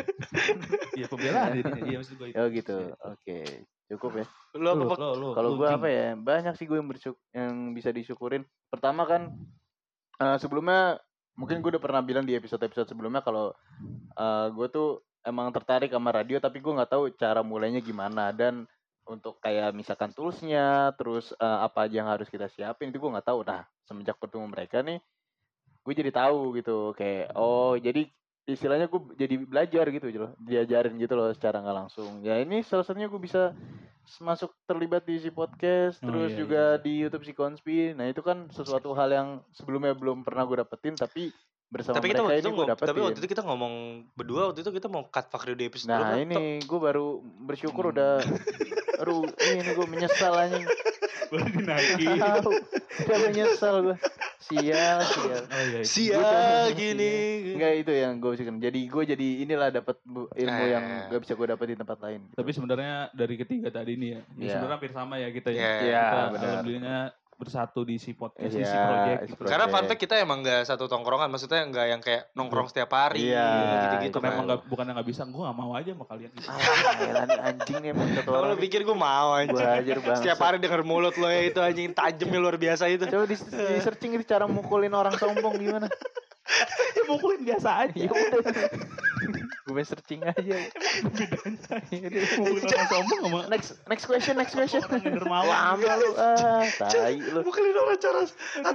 S1: Iya pembelaan jadinya. Iya maksud gue.
S3: Oh gitu. Oke. Cukup ya.
S2: Lu apa? Pak?
S3: Kalau gue
S1: (laughs)
S3: apa ya? Banyak sih gue yang bersyuk- yang bisa disyukurin. Pertama kan eh, sebelumnya mungkin gue udah pernah bilang di episode-episode sebelumnya kalau eh, gue tuh emang tertarik sama radio tapi gue nggak tahu cara mulainya gimana dan untuk kayak misalkan toolsnya terus eh, apa aja yang harus kita siapin itu gue nggak tahu nah semenjak bertemu mereka nih gue jadi tahu gitu kayak oh jadi istilahnya gue jadi belajar gitu loh diajarin gitu loh secara nggak langsung ya ini salah satunya gue bisa masuk terlibat di si podcast
S1: Oh,
S3: terus
S1: iya,
S3: juga
S1: iya.
S3: di YouTube si Konspi nah itu kan sesuatu hal yang sebelumnya belum pernah gue dapetin tapi bersama
S2: Tapi kita
S3: mereka
S2: waktu
S3: ini
S2: itu
S3: gue
S2: ngom-
S3: dapetin
S2: tapi waktu itu kita ngomong berdua waktu itu kita mau cut Fakrio di episode
S3: nah
S2: berapa? Tuh,
S3: ini gue baru bersyukur
S1: Hmm.
S3: udah ru ini gue menyesal anjing
S1: Baru
S3: (laughs)
S1: dinaikin.
S2: Iya.
S3: tahu udah menyesal gue sial sial
S1: Oh iya. iya.
S2: Sia
S3: Gua-
S2: gini.
S3: Enggak itu yang gue bisikin. Jadi gue jadi inilah dapat bu- ilmu yang
S2: Eh.
S3: gak bisa gue dapat di tempat lain.
S1: Tapi sebenarnya dari ketiga tadi nih ya. ini
S3: Iya.
S1: Sebenarnya hampir sama ya kita ya.
S2: Iya.
S3: Iya,
S1: Kita
S3: benar.
S1: alhamdulillahnya bersatu di si podcast, di si
S3: Iya,
S1: project
S3: si
S1: gitu.
S3: project.
S2: Karena fun fact kita emang gak satu tongkrongan, maksudnya gak yang kayak nongkrong setiap hari
S3: Iya,
S2: gitu-gitu
S1: Karena
S2: kan.
S1: emang gak, bukan yang gak bisa, gue gak mau aja sama
S3: (laughs)
S1: kalian. Gitu.
S3: Ah, elah nih anjing nih emang satu
S2: Kalau lu
S3: orang.
S2: pikir gue mau
S3: Gue
S2: anjing.
S3: hajar banget.
S2: Setiap hari denger mulut lo ya itu anjing tajamnya luar biasa itu.
S3: Coba di, di searching itu cara mukulin orang sombong gimana?
S1: ya mukulin biasa aja.
S2: Iya.
S3: Ya udah. gue searching aja.
S2: (laughs)
S3: Yaudah.
S1: Mukulin orang sombong sama
S3: next next question next question.
S1: orang yang dermawan.
S3: Lama lu ah, tai lu.
S2: Mukulin orang cara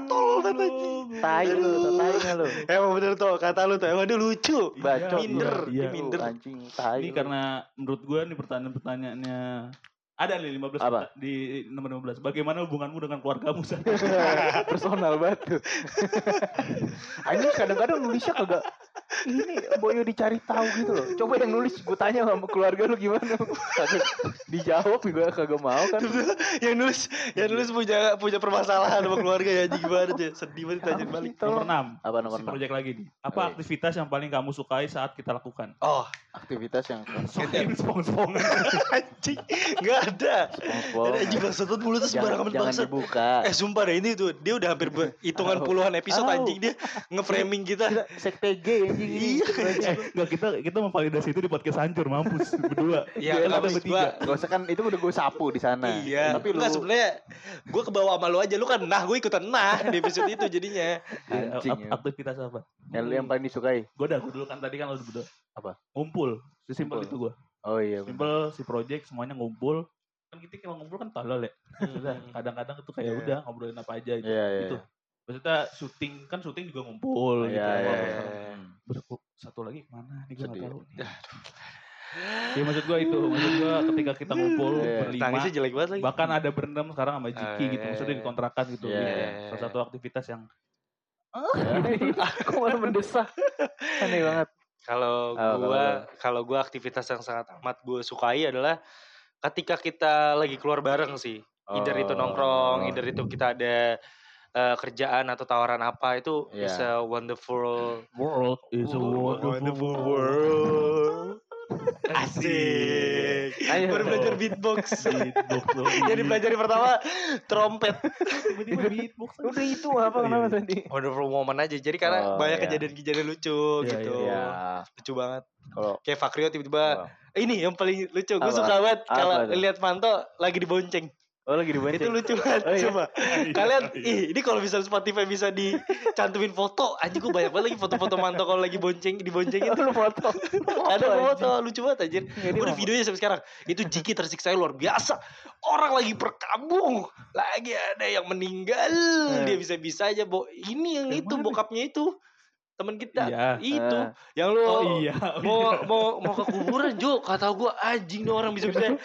S2: tolol dan anjing.
S3: Tai lu, tai nggak lu.
S2: Emang bener tuh kata lu tuh emang dia lucu.
S3: Bacot lu.
S2: Minder,
S1: iya.
S3: Lu
S2: minder.
S3: Anjing, tai.
S1: Ini
S3: lu. (laughs)
S1: karena menurut gue nih pertanyaan-pertanyaannya ada nih 15
S3: Apa?
S1: peta- di nomor 15. Bagaimana hubunganmu dengan keluargamu San?
S3: Iya, personal banget tuh. (laughs) Anjing kadang-kadang nulisnya kagak ini Boyo dicari tahu gitu loh. Coba yang nulis gue tanya sama keluarga lu gimana. Kagak dijawab juga kagak mau kan.
S2: yang nulis yang nulis punya punya permasalahan sama keluarga ya anjing gimana aja. Sedih banget
S3: Apa
S2: tajam
S3: sih,
S2: balik.
S1: nomor
S3: tolong?
S1: 6.
S3: Apa nomor
S1: si
S3: enam?
S1: project lagi nih. Apa
S3: Oke.
S1: aktivitas yang paling kamu sukai saat kita
S3: (laughs)
S1: lakukan?
S2: Oh,
S3: Aktivitas yang
S1: Selain spong-spongan.
S2: (laughs) anjing. Enggak ada.
S3: SpongeBob.
S2: Ada anjing bangsat banget mulut tuh
S3: Jangan,
S2: sembarangan
S3: jangan
S2: bangsat.
S3: dibuka.
S2: Eh sumpah deh ini tuh dia udah hampir ber- hitungan
S3: Au.
S2: puluhan episode
S3: Au.
S2: anjing dia ngeframing Iya, kita.
S3: Kita sekte G anjing ini.
S1: (laughs)
S2: Iya,
S1: eh, enggak kita kita memvalidasi itu di podcast hancur mampus berdua.
S2: Iya,
S1: Kita
S2: tapi
S1: bertiga.
S2: gua-
S3: Gak usah kan itu udah gue sapu di sana.
S2: Iya.
S3: Tapi lu
S2: Enggak sebenarnya gue kebawa sama lu aja lu kan nah gue ikutan nah di episode itu jadinya.
S1: Iya,
S3: anjing
S1: ak-
S3: ya.
S1: Aktivitas apa?
S3: Yang lu yang paling disukai.
S1: Gue dah, gue dulu kan tadi kan lo berdua.
S3: Apa?
S1: Ngumpul. Sesimpel
S3: Ngumpul.
S1: itu gue.
S3: Oh iya. bener.
S1: Simpel si project semuanya ngumpul. Kan kita kalau ngumpul kan tolol ya. Maksudnya kadang-kadang tuh kayak
S2: Iya.
S1: udah ngobrolin apa aja gitu.
S3: Hmm. Iya iya.
S1: Gitu. Maksudnya syuting kan syuting juga ngumpul gitu.
S3: Iya
S1: ya.
S3: (laughs) iya.
S2: Iya.
S1: Terus gua, satu lagi mana nih gue nggak
S3: Sedih.
S1: tahu. nih. Ya maksud gua itu, maksud gua ketika kita ngumpul
S3: Iya.
S1: berlima,
S2: Tangisnya jelek banget lagi.
S1: bahkan ada berenam sekarang sama Jiki
S2: Ah,
S1: gitu,
S2: iya,
S1: maksudnya
S2: iya.
S1: dikontrakan gitu.
S3: Iya,
S1: Gitu.
S3: iya,
S2: iya.
S1: Salah satu aktivitas yang
S3: Kok malah mendesah? Aneh banget.
S2: Oh, Kalau
S3: Apa,
S2: gua kalau gua aktivitas yang sangat amat gue sukai adalah ketika kita lagi keluar bareng sih. Either itu nongkrong, either itu kita ada eh, kerjaan atau tawaran apa itu
S3: Iya.
S2: is a wonderful
S1: world is a wonderful world.
S2: world.
S1: Asik.
S2: Asik.
S3: Ayo.
S2: Baru belajar
S3: (laughs)
S2: beatbox.
S1: Beatbox dong.
S3: Iya,
S2: Jadi pelajari pertama trompet.
S1: tiba-tiba (laughs) beatbox.
S3: Udah itu apa kenapa
S1: Iya,
S3: tadi?
S2: Wonderful moment aja. Jadi karena
S3: Oh,
S2: banyak
S3: iya.
S2: kejadian-kejadian lucu
S1: Iya,
S2: gitu.
S1: iya,
S2: Lucu banget.
S3: Kalau
S2: Kayak Fakrio tiba-tiba
S3: Wah.
S2: ini yang paling lucu. Gue
S3: Apa?
S2: suka banget
S3: Apa
S2: kalau
S3: tuh?
S2: lihat Manto lagi dibonceng.
S3: Oh lagi dibanting.
S2: Itu
S3: (laughs)
S2: lucu banget.
S3: Oh, iya.
S2: Coba kalian ih ini kalau bisa Spotify bisa dicantumin foto. Anjir gue banyak banget lagi foto-foto Manto kalau lagi bonceng diboncengin.
S3: (laughs) Oh, lu foto.
S2: Ada
S3: Foto,
S2: gua foto
S3: anjing.
S2: lucu banget anjir.
S3: Jadi
S2: Udah
S3: mau-
S2: videonya sampai sekarang. Itu Jiki tersiksa luar biasa. Orang lagi berkabung, lagi ada yang meninggal.
S3: Eh.
S2: Dia bisa-bisa aja, bo. Ini yang,
S1: Yang
S2: itu
S1: mana?
S2: bokapnya itu. Temen kita.
S1: Iya.
S2: Itu
S3: Ah.
S2: yang lo
S1: Oh iya.
S2: mau mau mau ke kuburan Jo kata gua anjing nih orang bisa bisa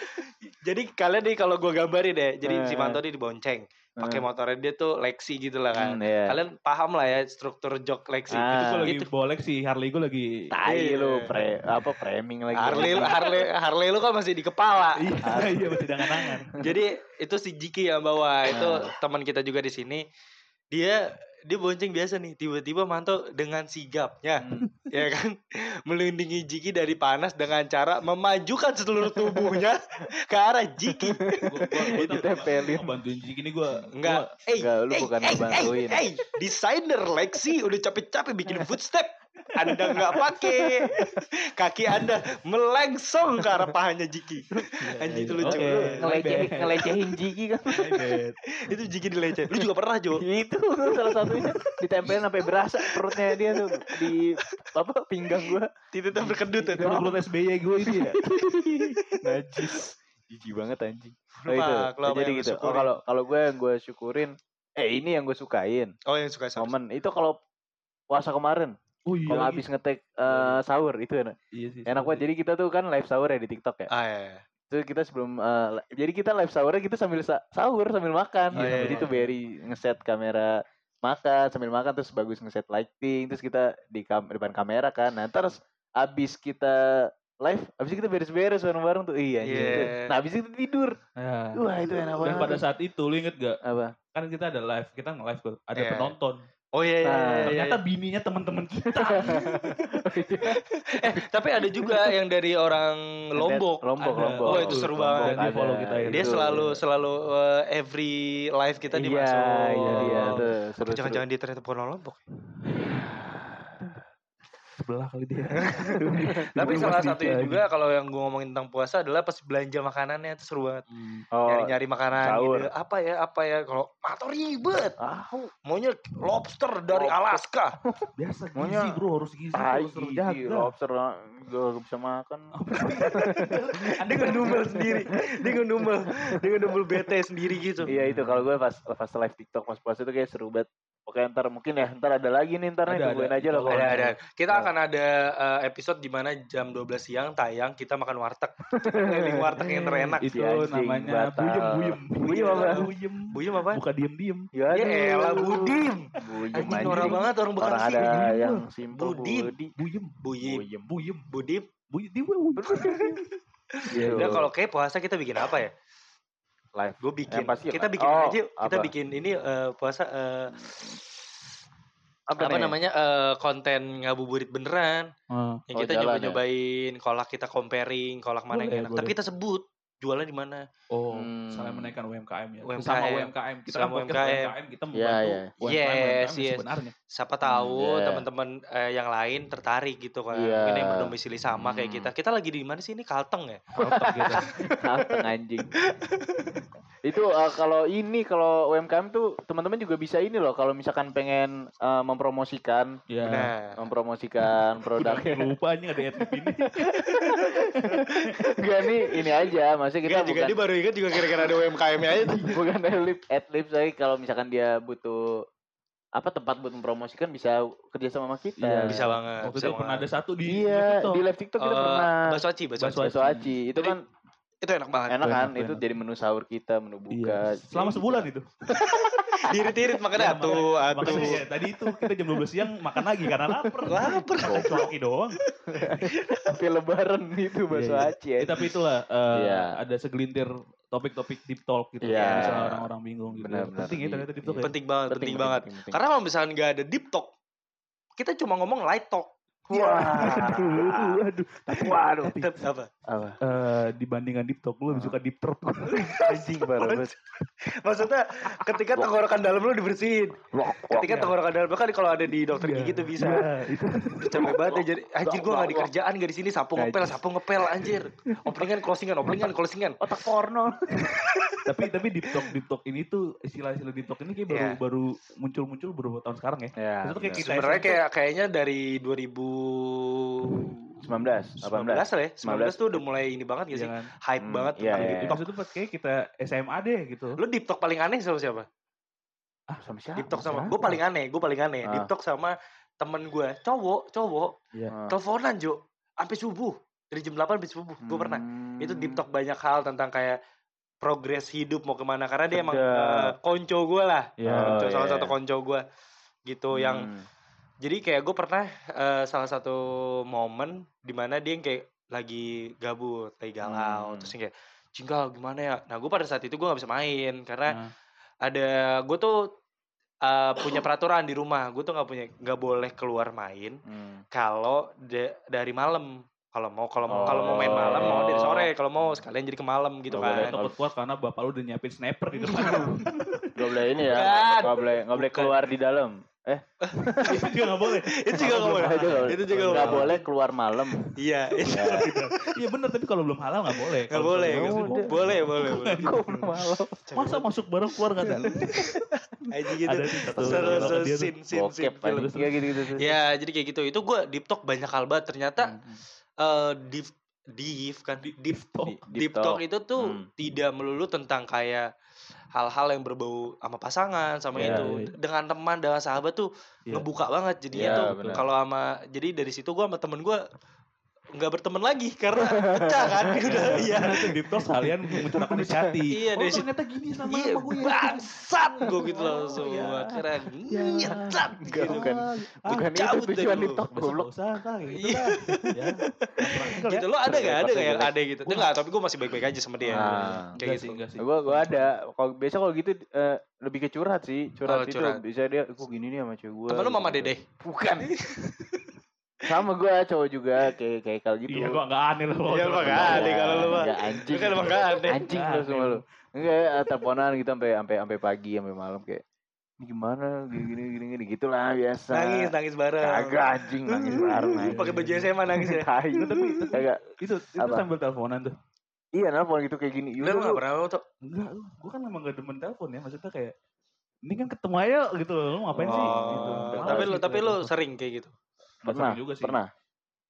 S2: jadi kalian nih kalau gua gambarin deh jadi si
S3: Eh.
S2: Manto nih dibonceng pakai
S3: Hmm.
S2: motornya dia tuh Lexi gitu lah kan
S3: Hmm, iya.
S2: kalian paham lah ya struktur jok Lexi
S3: Ah.
S1: Itu gua lagi
S2: gitu
S1: bolek sih Harley gue lagi
S3: Tai
S2: Iya.
S3: lu pre apa framing lagi. Iya.
S2: Harley Harley Harley lu kan masih di
S1: Iya,
S2: kepala
S1: (laughs) iya masih dangan-dangan.
S2: Jadi itu si Jiki yang bawa itu
S3: Nah.
S2: teman kita juga di sini. Dia dia bonceng biasa nih, tiba-tiba Manto dengan sigapnya,
S3: Hmm.
S2: ya kan, melindungi Jiki dari panas dengan cara memajukan seluruh tubuhnya ke arah Jiki.
S1: Gua- gua- gua tuh
S3: Ditempelin.
S1: bantuin Jiki ini gue
S2: Enggak, eh,
S3: Enggak, lu bukan ngebantuin.
S2: eh, desainer Lexi udah capek-capek bikin footstep. Anda nggak pakai kaki Anda melengsong ke arah pahanya Jiki.
S1: Kan
S2: Anjing itu lucu.
S1: Iya, Oke.
S3: Lu
S1: My
S3: ngelecehin
S1: bad.
S3: ngelecehin Jiki kan.
S2: Itu Jiki dilecehin. Lu juga pernah Jo?
S3: itu tuh salah satunya ditempelin sampai berasa perutnya dia tuh di apa pinggang gua.
S2: Tiba-tiba berkedut
S1: Itu
S2: itu.
S1: menurut SBY gue itu ya.
S3: Najis. (laughs) Jijik banget anjing. Oh,
S2: Lu,
S3: itu.
S2: Pak, lu apa
S3: Jadi
S2: yang lu
S3: gitu. Oh,
S2: syukurin?
S3: kalau kalau gue yang gue syukurin eh ini yang gue sukain.
S2: Oh yang suka sama
S3: Momen itu kalau puasa kemarin,
S1: Oh iya.
S3: kalau
S1: lagi.
S3: habis ngetek eh,
S1: Iya.
S3: sahur itu enak.
S1: Iya sih.
S3: Enak banget. Jadi kita tuh kan live sahur ya di TikTok ya.
S2: Ah iya. iya.
S3: Terus kita sebelum eh, li- jadi kita live sahurnya kita sambil sa- sahur sambil makan.
S2: Oh, iya,
S3: jadi
S2: iya.
S3: tuh Berry ngeset kamera makan sambil makan terus bagus ngeset lighting terus kita di kam- depan kamera kan. Nah, terus abis kita live, abis itu kita beres-beres bareng-bareng tuh. Iya, anjing,
S2: Iya.
S3: itu. Nah, abis itu tidur.
S1: Ya.
S3: Wah, itu enak
S1: Dan
S3: banget.
S1: pada saat itu lu inget gak?
S3: apa?
S1: Kan kita ada live, kita nge-live tuh, ada
S2: Iya.
S1: penonton.
S2: Oh iya iya.
S3: Nah,
S2: iya, iya, (laughs)
S1: Ternyata
S2: iya.
S1: bininya teman-teman kita.
S2: Eh tapi ada juga yang dari orang Lombok.
S3: Lombok,
S1: Ada.
S3: Lombok.
S2: Oh, itu seru banget.
S1: Dia follow kita ya.
S2: Dia
S1: Itu.
S2: selalu selalu eh, every live kita dimasuk.
S3: Iya, iya, iya,
S1: Oh.
S3: tuh seru.
S2: Jangan-jangan dia ternyata bukan orang
S3: (laughs)
S2: Lombok.
S1: (laughs) Sebelah kali dia.
S2: Tapi salah satunya juga kalau yang gue ngomongin tentang puasa adalah pas belanja makanannya itu seru banget.
S1: Hmm.
S3: Oh,
S2: Nyari-nyari makanan
S3: sahur.
S2: gitu. Apa ya, apa ya. Kalau atau ribet.
S3: ah,
S2: Maunya lobster dari
S3: Lobster.
S2: Alaska.
S1: Biasa
S3: Maunya-
S1: gizi bro harus gizi
S3: tai iya,
S1: harus
S3: gizi,
S1: terjaga.
S3: lobster ah, gak bisa makan.
S2: Dia ngedumel
S3: (laughs)
S2: sendiri. Dia ngedumel. Dia ngedumel bete sendiri gitu.
S3: Iya itu kalau gue pas pas live TikTok pas puasa itu kayak seru banget. Oke ntar mungkin ya ntar ada lagi nih ntar nih
S1: Ada,
S3: tungguin
S1: ada.
S3: aja loh.
S2: Ada,
S3: kalau-
S2: ada. Kita
S3: Oh.
S2: akan ada eh, episode di mana jam 12 siang tayang kita makan warteg. Keliling warteg yang terenak.
S1: Itu
S3: Iya, anjing
S1: namanya
S3: batal.
S1: buyem buyem.
S3: Buyem apa?
S1: Buyem.
S2: Buyem apa?
S1: Buka diem-diem.
S3: Ya
S2: Ya
S3: aduh.
S2: elah Budim.
S3: Buyem
S2: Anjing
S3: anjing.
S2: norak banget orang
S3: Orang
S2: Bekasi.
S3: ada
S2: Buyem.
S3: yang simpel
S2: Budim.
S3: Budi.
S1: Buyem.
S2: Buyim.
S3: Buyem.
S1: Buyem.
S2: Budim.
S1: Buyem. Dia buyem.
S3: Gitu.
S2: Dan kalau kayak puasa kita bikin apa ya?
S3: live.
S2: Gue bikin.
S3: Yang pasti
S2: kita
S3: apa?
S2: bikin
S3: Oh,
S2: aja. Kita
S3: apa?
S2: bikin ini eh, puasa eh,
S3: Apa
S2: apa,
S3: nih?
S2: namanya eh, konten ngabuburit beneran.
S1: Ah,
S2: Yang
S3: Oh,
S2: kita nyoba
S3: jalan ya?
S2: nyobain kolak kita comparing kolak mana
S1: Boleh,
S2: yang enak. Tapi
S1: boleh.
S2: kita sebut jualan di mana.
S1: Oh,
S3: Hmm.
S1: saling menaikkan UMKM ya.
S2: UMKM.
S1: Sama UMKM. Kita
S2: Sama
S1: kan podcast
S2: UMKM.
S1: kita membantu
S3: Iya, iya.
S1: UMKM,
S2: Yes,
S1: UMKM
S2: yes.
S1: sebenarnya.
S2: siapa tahu
S3: iya.
S2: teman-teman eh, yang lain tertarik gitu kan
S3: Iya.
S2: mungkin yang berdomisili sama kayak
S3: Hmm.
S2: kita kita lagi di mana sih ini Kalteng ya
S1: Otak
S3: (laughs)
S1: gitu.
S3: Kalteng anjing. itu eh, kalau ini kalau UMKM tuh teman-teman juga bisa ini loh kalau misalkan pengen eh,
S2: (laughs)
S3: mempromosikan
S1: Ya.
S2: nah
S3: mempromosikan produk
S1: Udah lupa anjing ada etnik ini.
S3: Enggak nih ini aja maksudnya kita
S2: kita juga
S3: bukan
S2: dia baru ingat juga kira-kira ada UMKM nya aja
S3: bukan ad lib ad lib saya kalau misalkan dia butuh apa tempat buat mempromosikan bisa kerja sama sama kita.
S1: Iya.
S2: (laughs) bisa banget
S1: Waktu
S2: bisa
S1: itu pernah
S2: banget.
S1: ada satu di
S3: Iya,
S1: TikTok.
S3: di live TikTok kita
S2: Eh,
S3: pernah
S2: bakso aci bakso
S1: Bakso
S2: aci.
S3: bakso aci. Itu
S2: Jadi,
S3: kan
S2: itu enak (laughs) banget
S3: enak kan?
S1: enak,
S3: Itu
S1: enak.
S3: jadi menu sahur kita, menu buka.
S1: Iya. Selama sebulan itu. Iya,
S2: diirit-irit makanya atuh atuh
S1: Makanya ya, tadi itu kita jam 12 siang makan lagi karena lapar.
S2: Lapar.
S1: Koki doang.
S3: (laughs) Sampai lebaran itu bakso
S1: Iya, iya.
S3: aci. ya.
S1: Eh, tapi itulah eh,
S3: Iya.
S1: ada segelintir topik-topik deep talk gitu.
S3: Iya.
S1: Yang Misalnya orang-orang bingung gitu.
S3: Benar-benar.
S1: Penting ya ternyata deep talk
S3: Iya.
S1: ya.
S2: penting banget penting banget
S3: penting, penting.
S2: karena kalau misalnya nggak ada deep talk kita cuma ngomong light talk
S3: Wah.
S1: Aduh, aduh. Tapi,
S3: Waduh.
S1: tapi
S2: apa
S3: Apa?
S1: eh, dibandingkan deep talk, lu lebih suka deep talk.
S3: Anjing parah banget.
S2: (laughs) maksudnya ketika tenggorokan dalam lu dibersihin
S3: Wok, wok.
S1: Iya.
S2: ketika tenggorokan dalam lu kan kalau ada di dokter
S1: Iya.
S2: gigi tuh bisa
S1: Iya, itu.
S2: capek banget ya jadi anjir gua nggak di
S3: Wah, wah.
S2: kerjaan nggak di sini sapu ngepel
S3: Najis.
S2: sapu ngepel anjir openingan closingan openingan closingan
S3: Otak porno.
S1: tapi tapi deep talk deep talk ini tuh istilah-istilah deep talk ini kayak baru
S2: Iya.
S1: baru muncul-muncul beberapa tahun sekarang ya.
S3: Ya.
S1: Itu tuh kayak
S3: benar.
S1: kita
S2: sebenarnya
S1: SMP.
S2: kayak gitu. kayaknya dari 2019
S3: 19, 18.
S2: 19 lah ya 19 tuh udah mulai ini banget gak Iya sih
S1: Jangan.
S2: hype
S3: Hmm,
S2: banget
S3: iya,
S2: tentang
S3: iya.
S2: deep
S1: Itu
S2: talk
S1: kan? gitu. maksudnya pas kayak kita SMA deh gitu.
S2: lu deep talk paling aneh sama siapa
S3: Ah, sama siapa?
S2: deep talk sama
S3: Siapa?
S2: gue paling aneh gue paling aneh
S3: Ah.
S2: deep talk sama temen gue cowok cowok
S3: Ah.
S2: teleponan Jo sampai subuh dari jam 8 sampai subuh gue pernah
S3: Hmm.
S2: itu deep talk banyak hal tentang kayak progres hidup mau kemana karena dia emang
S3: Sedap.
S2: eh, konco gue lah
S1: Iya.
S2: Konco,
S3: Oh,
S2: salah
S3: iya.
S2: satu konco gue gitu yang
S3: Hmm.
S2: jadi kayak gue pernah eh, salah satu momen dimana dia yang kayak lagi gabut lagi galau
S3: Hmm.
S2: terus yang kayak cinggal gimana ya nah gue pada saat itu gue nggak bisa main karena
S1: Nah,
S2: ada gue tuh eh, punya peraturan di rumah gue tuh nggak punya nggak boleh keluar main
S3: Hmm.
S2: kalau da- dari malam kalau mau kalau mau kalau mau main malam mau dari sore kalau mau sekalian jadi ke malam gitu
S3: Oh. Nggak
S2: kan
S3: boleh.
S1: takut kuat Eh, karena bapak lu udah nyiapin sniper gitu. di depan.
S2: Iya.
S1: (laughs)
S3: Gak boleh ini ya.
S2: Bukan.
S3: Gak boleh, gak boleh
S2: Bukan.
S3: keluar di dalam. Eh,
S1: Itu juga Iya, nggak boleh.
S2: itu juga nggak boleh
S3: itu nggak boleh.
S2: itu juga
S3: Nggak
S2: nggak boleh
S3: boleh keluar
S2: (laughs)
S3: malam.
S2: iya itu
S3: Ya.
S1: Iya bener, tapi kalau belum halal nggak boleh.
S2: nggak
S1: Kalau
S2: boleh
S1: belum
S2: nggak
S1: halal
S3: boleh.
S2: boleh
S1: sih,
S2: boleh boleh boleh
S3: Kok malam?
S1: Masa masuk bareng keluar nggak ada?
S2: aja gitu
S1: Ada sih satu.
S2: seru
S1: dialog
S2: seru
S1: dia tuh.
S2: sin sin sin
S3: Bokep.
S2: film.
S3: anjing. Ya gitu-gitu. tuh.
S2: ya jadi kayak gitu itu gue deep talk banyak hal banget ternyata eh deep deep kan deep deep
S1: Talk.
S3: Hmm. Di-
S2: deep talk itu tuh
S3: Hmm.
S2: tidak melulu tentang kayak hal-hal yang berbau sama pasangan sama
S3: Iya,
S2: itu
S1: iya, iya.
S2: dengan teman dengan sahabat tuh
S1: Iya.
S2: ngebuka banget jadinya
S3: Iya,
S2: tuh
S3: benar.
S2: kalau sama jadi dari situ gua sama temen gua nggak berteman lagi karena pecah kan (laughs) udah iya
S1: Karena tuh Deep talk sekalian mencurahkan isi hati.
S2: Iya,
S1: oh,
S2: dari situ-
S1: ternyata gini sama
S2: iya
S1: sama gue ya.
S2: bangsat gua
S1: (laughs)
S2: gitu langsung
S1: iya.
S2: akhirnya
S1: Iya.
S2: nyetat
S3: Enggak,
S2: gitu
S3: bukan.
S1: Ah,
S3: Bukan itu
S2: cabut deh
S3: tujuan
S2: lu.
S3: di TikTok
S1: besok
S3: goblok.
S1: nggak usah kan gitu
S2: Iya.
S1: lah. Ya. Praktikal ya.
S2: gitu lo ada gak ada gak yang
S3: Jelek.
S2: ada gitu enggak tapi gua masih baik-baik aja sama dia
S3: Ah.
S1: Enggak
S2: kayak
S1: sih,
S2: gitu
S1: enggak sih.
S3: Gua gua ada. Kalau biasa kalau gitu eh, lebih ke curhat sih,
S2: Oh,
S3: curhat, itu
S2: curhat.
S3: bisa dia aku gini nih sama cewek gua.
S2: temen lu mama
S3: gitu-gitu.
S2: dede
S3: Bukan. sama gua cowok juga kayak kayak kalau gitu.
S1: Iya, gua nggak aneh lah.
S2: Iya, lu mah nggak aneh kalau lu mah.
S3: Enggak
S2: lu
S3: anjing.
S2: kan emang gak ada
S3: anjing lu semua lu enggak ah, teleponan gitu sampai sampai sampai pagi sampai malam kayak ini gimana gini gini gini, gini. gitulah biasa
S2: nangis nangis bareng
S3: kagak anjing
S2: (laughs)
S3: nangis bareng anjing.
S2: pakai baju SMA nangis ya
S3: (laughs) Tai. kagak
S1: Itu itu
S3: Apa?
S1: sambil teleponan tuh.
S3: iya nelfon gitu kayak gini
S2: Lu
S3: yaudah
S2: gak
S3: lu
S2: pernah lu tuh
S1: Enggak, lu- gua kan emang gak demen telepon ya. Maksudnya kayak ini kan ketemu aja gitu loh, lu ngapain sih?
S3: Oh,
S1: Gitu.
S3: Males
S2: tapi
S1: Males
S2: lu
S1: gitu
S2: tapi
S1: ya
S2: lu
S1: telepon.
S2: sering kayak gitu
S1: Nggak
S3: pernah
S1: sering juga sih.
S3: pernah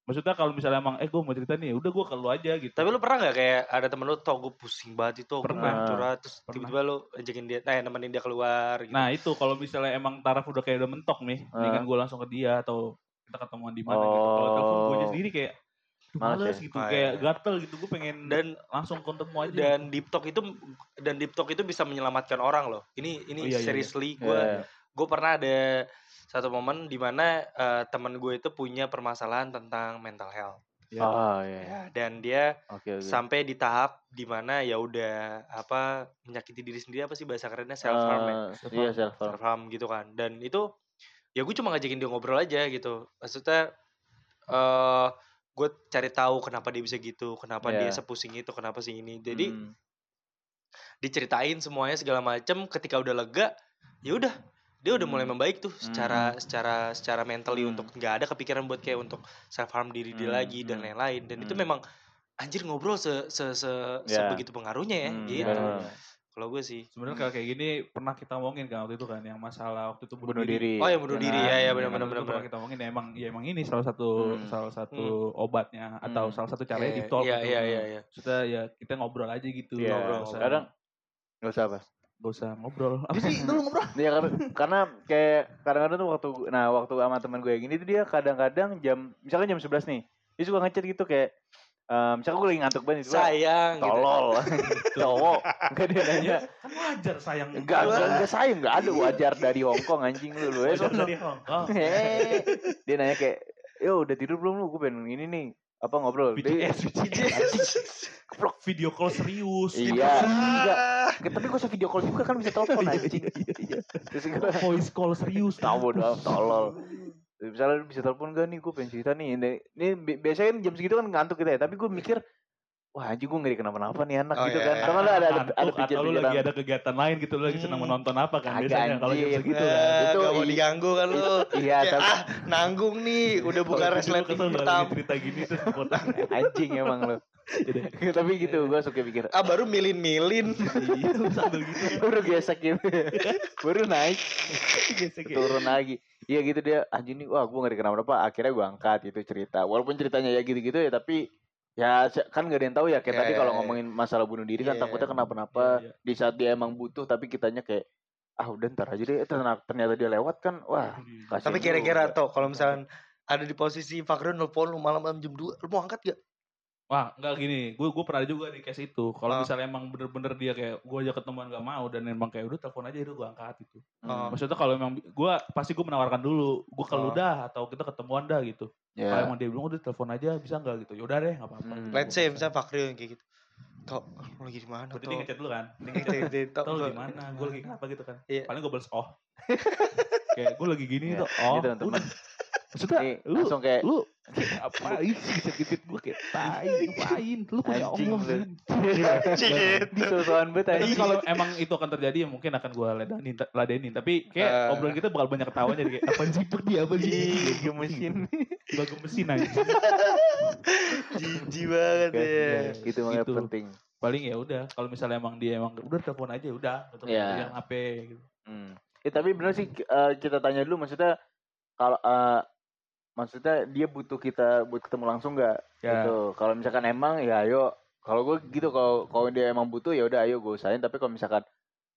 S1: Maksudnya kalau misalnya emang, eh gue mau cerita nih, udah gue ke lu aja gitu.
S2: tapi lu pernah nggak kayak ada temen lu tau gue pusing banget itu gue
S1: Pernah.
S2: pengen curhat terus
S1: Pernah.
S2: tiba-tiba lu ajakin dia nah nemenin dia keluar gitu
S1: Nah itu kalau misalnya emang taraf udah kayak udah mentok nih, mendingan gue langsung ke dia atau kita ketemuan di mana gitu. Kalau telepon gue aja
S3: Oh.
S1: sendiri kayak aduh,
S3: Males
S1: males,
S3: ya?
S1: gitu,
S2: Ah,
S1: kayak
S2: iya.
S1: gatel gitu. Gue pengen
S2: dan
S1: langsung ketemu aja.
S2: dan deep talk itu dan deep talk itu bisa menyelamatkan orang loh ini
S1: Oh,
S2: ini
S1: iya, iya, iya.
S2: seriously gue
S3: Iya.
S2: gue pernah ada satu momen di mana eh, temen gue itu punya permasalahan tentang mental health
S1: Ya.
S3: oh iya
S2: ya dan dia
S3: oke oke
S2: sampai di tahap di mana ya udah apa menyakiti diri sendiri apa sih bahasa kerennya self harm ya
S3: Eh, iya self harm
S2: self harm gitu kan dan itu ya gue cuma ngajakin dia ngobrol aja gitu maksudnya eh gue cari tahu kenapa dia bisa gitu kenapa dia
S3: Iya.
S2: sepusing itu kenapa sih ini jadi
S3: Hmm.
S2: diceritain semuanya segala macem ketika udah lega ya udah dia udah mulai
S3: Hmm.
S2: membaik tuh secara secara secara mentally
S3: Hmm.
S2: untuk nggak ada kepikiran buat kayak untuk self harm diri dia
S3: Hmm,
S2: lagi dan
S3: hmm.
S2: lain-lain dan itu
S3: Hmm.
S2: memang anjir ngobrol se se se
S3: Ya.
S2: sebegitu pengaruhnya ya
S3: Hmm,
S2: gitu
S3: benar.
S2: kalau gue sih
S1: Sebenarnya kalau kayak gini pernah kita ngomongin kan waktu itu kan yang masalah waktu itu
S3: bunuh diri
S2: oh ya bunuh
S3: Iya.
S2: diri ya ya
S1: Kan
S2: benar benar
S1: waktu
S2: benar
S1: itu pernah kita ngomongin ya emang ya emang ini salah satu
S3: Hmm.
S1: salah satu obatnya atau
S3: Hmm.
S1: salah satu caranya
S2: Iya,
S1: deep talk
S2: Iya
S1: gitu.
S2: iya iya iya.
S1: Maksudnya ya kita ngobrol aja gitu.
S3: Iya.
S1: ngobrol.
S3: kadang nggak usah apa
S1: gak usah ngobrol. Apa (laughs) sih dulu ngobrol?
S3: Ya kar- karena kayak kadang-kadang tuh waktu nah waktu sama teman gue yang ini tuh dia kadang-kadang jam misalkan jam 11 nih. Dia suka ngechat gitu kayak eh misalkan gue lagi ngantuk banget gue
S2: sayang gitu.
S3: tolol (laughs) cowok enggak dia nanya
S1: Kan wajar sayang.
S3: enggak enggak (laughs) enggak sayang enggak ada wajar dari Hong Kong anjing lu lu eh,
S1: Wajar
S3: sono.
S1: dari Hong Kong.
S3: Hei. (laughs) dia nanya kayak yo udah tidur belum lu gue pengen ini nih apa ngobrol dia,
S1: BTS, (laughs) Vlog eh, video call serius. gitu.
S3: Iya. Enggak. tapi gue usah video call juga kan bisa telepon anjing terus gue
S1: (laughs) Voice call serius.
S3: tahu bodo amat, tolol misalnya lu bisa telepon gak nih gue pengen cerita nih ini, ini bi- biasanya kan jam segitu kan ngantuk kita ya tapi gue mikir wah anjing gue ngeri kenapa-napa nih anak
S2: Oh,
S3: gitu
S2: iya,
S3: kan
S2: iya.
S3: karena ada ada ada,
S1: Ngantuk atau lu
S3: pikiran-pikiran.
S1: lagi ada kegiatan lain gitu lu lagi senang
S2: Hmm.
S1: menonton apa kan
S3: Kagak,
S1: biasanya kalau jam
S3: anjing.
S1: segitu kan.
S2: Eh,
S3: Itu
S2: gak mau
S3: i-
S2: diganggu kan
S1: (laughs)
S2: lu.
S3: iya
S2: Kayak,
S3: tapi
S2: ah, nanggung nih. Udah buka
S1: Kalau gitu.
S2: resleting
S1: kesel banget
S2: pertama.
S1: cerita gini terus botak.
S3: anjing emang lo
S1: Jadi,
S3: tapi gitu gue suka pikir
S2: Ah, baru milin-milin.
S1: (laughs) Iya, lu sambil gitu.
S3: baru gesek gitu (laughs) baru naik
S1: Gesek ya.
S3: turun lagi iya gitu dia anjing nih wah gue nggak dikenal apa akhirnya gue angkat itu cerita walaupun ceritanya ya gitu-gitu ya tapi ya se- kan nggak ada yang tahu ya kayak
S2: Ya,
S3: tadi
S2: ya,
S3: kalau
S2: ya.
S3: ngomongin masalah bunuh diri kan
S2: Iya.
S3: takutnya kenapa-napa
S1: Iya,
S3: di saat dia emang butuh tapi kitanya kayak ah udah ntar aja deh Eh, ternyata, ternyata dia lewat kan wah
S1: iya.
S3: kasihan
S2: Tapi
S3: juga.
S2: kira-kira tuh kalau misalkan ada di posisi Fakhrul nelpon lu malam-malam jam 2, lu mau angkat gak?
S1: Wah, enggak gini. Gue gue pernah juga di case itu. Kalau
S2: Ah.
S1: misalnya emang bener-bener dia kayak gue aja ketemuan gak mau dan emang kayak udah telepon aja itu gue angkat gitu.
S3: Hmm,
S1: Maksudnya kalau emang gue pasti gue menawarkan dulu, gue kalau
S2: Ah.
S1: udah atau kita ketemuan dah gitu.
S3: ya.
S1: Kalau emang dia bilang udah telepon aja bisa nggak gitu. Yaudah deh, nggak apa-apa.
S3: Hmm.
S1: Gitu, gua
S2: Let's say
S1: paksain.
S2: misalnya Fakhrul yang kayak gitu. Kok lu lagi di mana
S1: Berarti
S2: tuh?
S1: dia ngechat dulu kan. Dia
S2: Itu, (laughs)
S1: ngechat,
S2: itu, itu.
S1: tau lu di mana? Gue lagi kenapa gitu kan?
S2: Iya.
S1: Paling gue (laughs) balas oh. kayak gue lagi gini
S3: Ya,
S1: tuh. Oh,
S3: ini teman-teman
S1: udah. Maksudnya
S3: nih
S1: lu
S3: langsung kayak
S1: lu kayak apa sih sakit gue kayak tai
S3: (laughs)
S1: ngapain lu kayak
S3: Anjing
S1: Allah
S3: lu.
S1: Zin.
S2: Cingit.
S3: di sosokan banget
S1: Tapi
S3: anjing.
S1: kalau emang itu akan terjadi ya mungkin akan gue ladenin, ladenin. Tapi kayak
S2: Eh.
S1: obrolan kita bakal banyak ketawanya jadi kayak apa sih Pek, dia apa sih?
S3: Ih, gemesin
S1: Gua gemesin aja. Iya.
S2: Jijik banget
S3: Oke,
S2: ya.
S3: itu makanya
S1: Gitu.
S3: penting
S1: Paling ya udah kalau misalnya emang dia emang udah telepon aja udah, tetep
S3: Iya.
S1: yang HP gitu.
S3: Hmm. Eh,
S1: Nah.
S3: tapi benar sih eh, kita tanya dulu maksudnya kalau eh, maksudnya dia butuh kita buat ketemu langsung nggak
S1: Ya.
S3: gitu. Kalau misalkan emang ya ayo kalau gue gitu kalau kalau dia emang butuh ya udah ayo gue usahain tapi kalau misalkan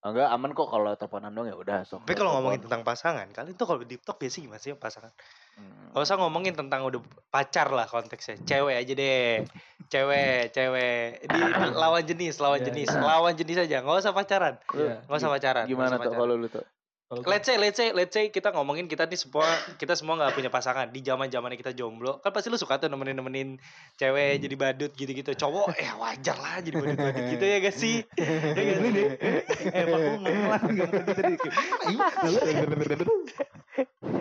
S3: "Ah, enggak aman kok kalau teleponan dong ya udah sok.
S2: Tapi kalau gitu, ngomongin tentang pasangan, kalian tuh kalau di TikTok biasanya gimana sih yang pasangan?
S3: Hmm.
S2: Gak usah ngomongin tentang udah pacar lah konteksnya. Cewek aja deh. Cewek, cewek. Di lawan jenis, lawan
S1: Iya.
S2: jenis. Lawan jenis aja. Gak usah pacaran.
S3: Lu
S1: Iya.
S2: Gak usah pacaran. nggak
S3: Gimana
S2: usah
S3: tuh
S2: pacaran.
S3: kalau lu tuh?
S1: Kalau gua-
S2: Let's say, let's say, let's say kita ngomongin kita nih semua kita semua nggak punya pasangan di zaman zamannya kita jomblo. Kan pasti lu suka tuh nemenin nemenin cewek
S3: Hmm.
S2: jadi badut gitu-gitu. Cowok eh wajar lah jadi badut badut gitu ya gak
S3: (laughs)
S2: sih? Ya gak sih?
S1: gitu eh Pak gua ngomong lagi nggak ngerti tadi kayak, "Ayo."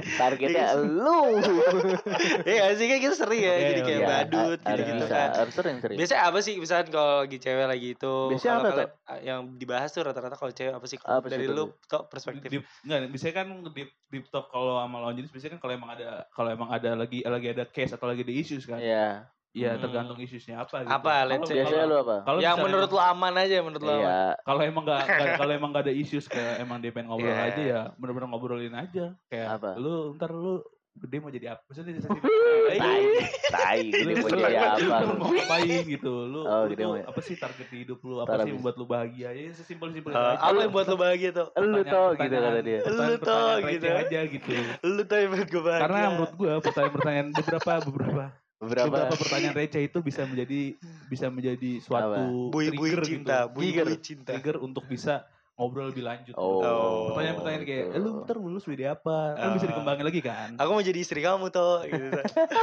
S3: Targetnya lu.
S2: Ya gak sih kan kita sering ya
S1: Iya,
S2: jadi kayak
S1: iya.
S2: badut
S3: har- harus
S2: gitu-gitu
S3: bisa,
S2: kan.
S3: harus sering-sering.
S2: Biasanya apa sih misalkan kalau lagi cewek lagi itu
S3: Iya. Biasanya
S2: kalau
S3: apa tuh?
S2: kalian- yang dibahas tuh rata-rata kalau cewek apa sih
S3: Apa sih
S2: dari
S3: tuh?
S2: lu Tok,
S1: Di-
S2: perspektif.
S1: di- nggak biasanya kan di di talk kalau sama lawan jenis biasanya kan kalau emang ada kalau emang ada lagi lagi ada case atau lagi ada issues kan
S3: Iya.
S1: ya
S2: Hmm.
S1: tergantung issuesnya apa gitu.
S2: Apa,
S1: Kalau-
S2: let's say-
S3: Biasanya lu
S1: kalau-
S3: apa?
S1: kalau
S2: yang
S1: misalnya
S2: menurut lu
S1: emang-
S2: aman aja menurut lu aman.
S3: Iya.
S1: kalau emang nggak
S2: (laughs)
S1: nggak- kalau emang nggak ada issues kayak emang dia pengen ngobrol
S2: Iya.
S1: aja ya bener-bener ngobrolin aja kayak
S3: Apa?
S1: lu ntar lu gede mau jadi apa maksudnya dia
S2: (laughs)
S1: sensitif. Iya.
S3: Tai, tai, gede
S1: (laughs)
S3: mau jadi apa
S1: lu
S3: lu?
S1: mau ngapain gitu lu,
S3: Oh,
S1: lu
S3: gede
S1: tuh
S3: mau-
S1: apa sih target di hidup lu apa
S3: Ntar
S1: sih
S3: habis.
S1: yang membuat lu bahagia ya sesimpel simpel
S2: Eh, apa yang buat lu bahagia tuh?
S3: Lu tuh gitu kata dia.
S2: Lu tuh, gitu.
S1: aja gitu
S2: Lu tuh yang buat gue bahagia.
S1: Karena menurut gue pertanyaan-pertanyaan beberapa beberapa
S3: Berapa?
S1: beberapa pertanyaan receh itu bisa menjadi bisa menjadi suatu
S2: bui-bui
S1: trigger
S2: cinta,
S1: gitu.
S2: bui-bui
S1: Trigger-
S2: cinta.
S1: trigger untuk bisa ngobrol lebih lanjut.
S2: Oh.
S1: Pertanyaan-pertanyaan kayak,
S3: gitu.
S1: eh, lu ntar lulus jadi apa? Kan bisa
S2: Ah.
S1: dikembangin lagi kan?
S2: Aku mau jadi istri kamu toh. Gitu.
S1: (laughs)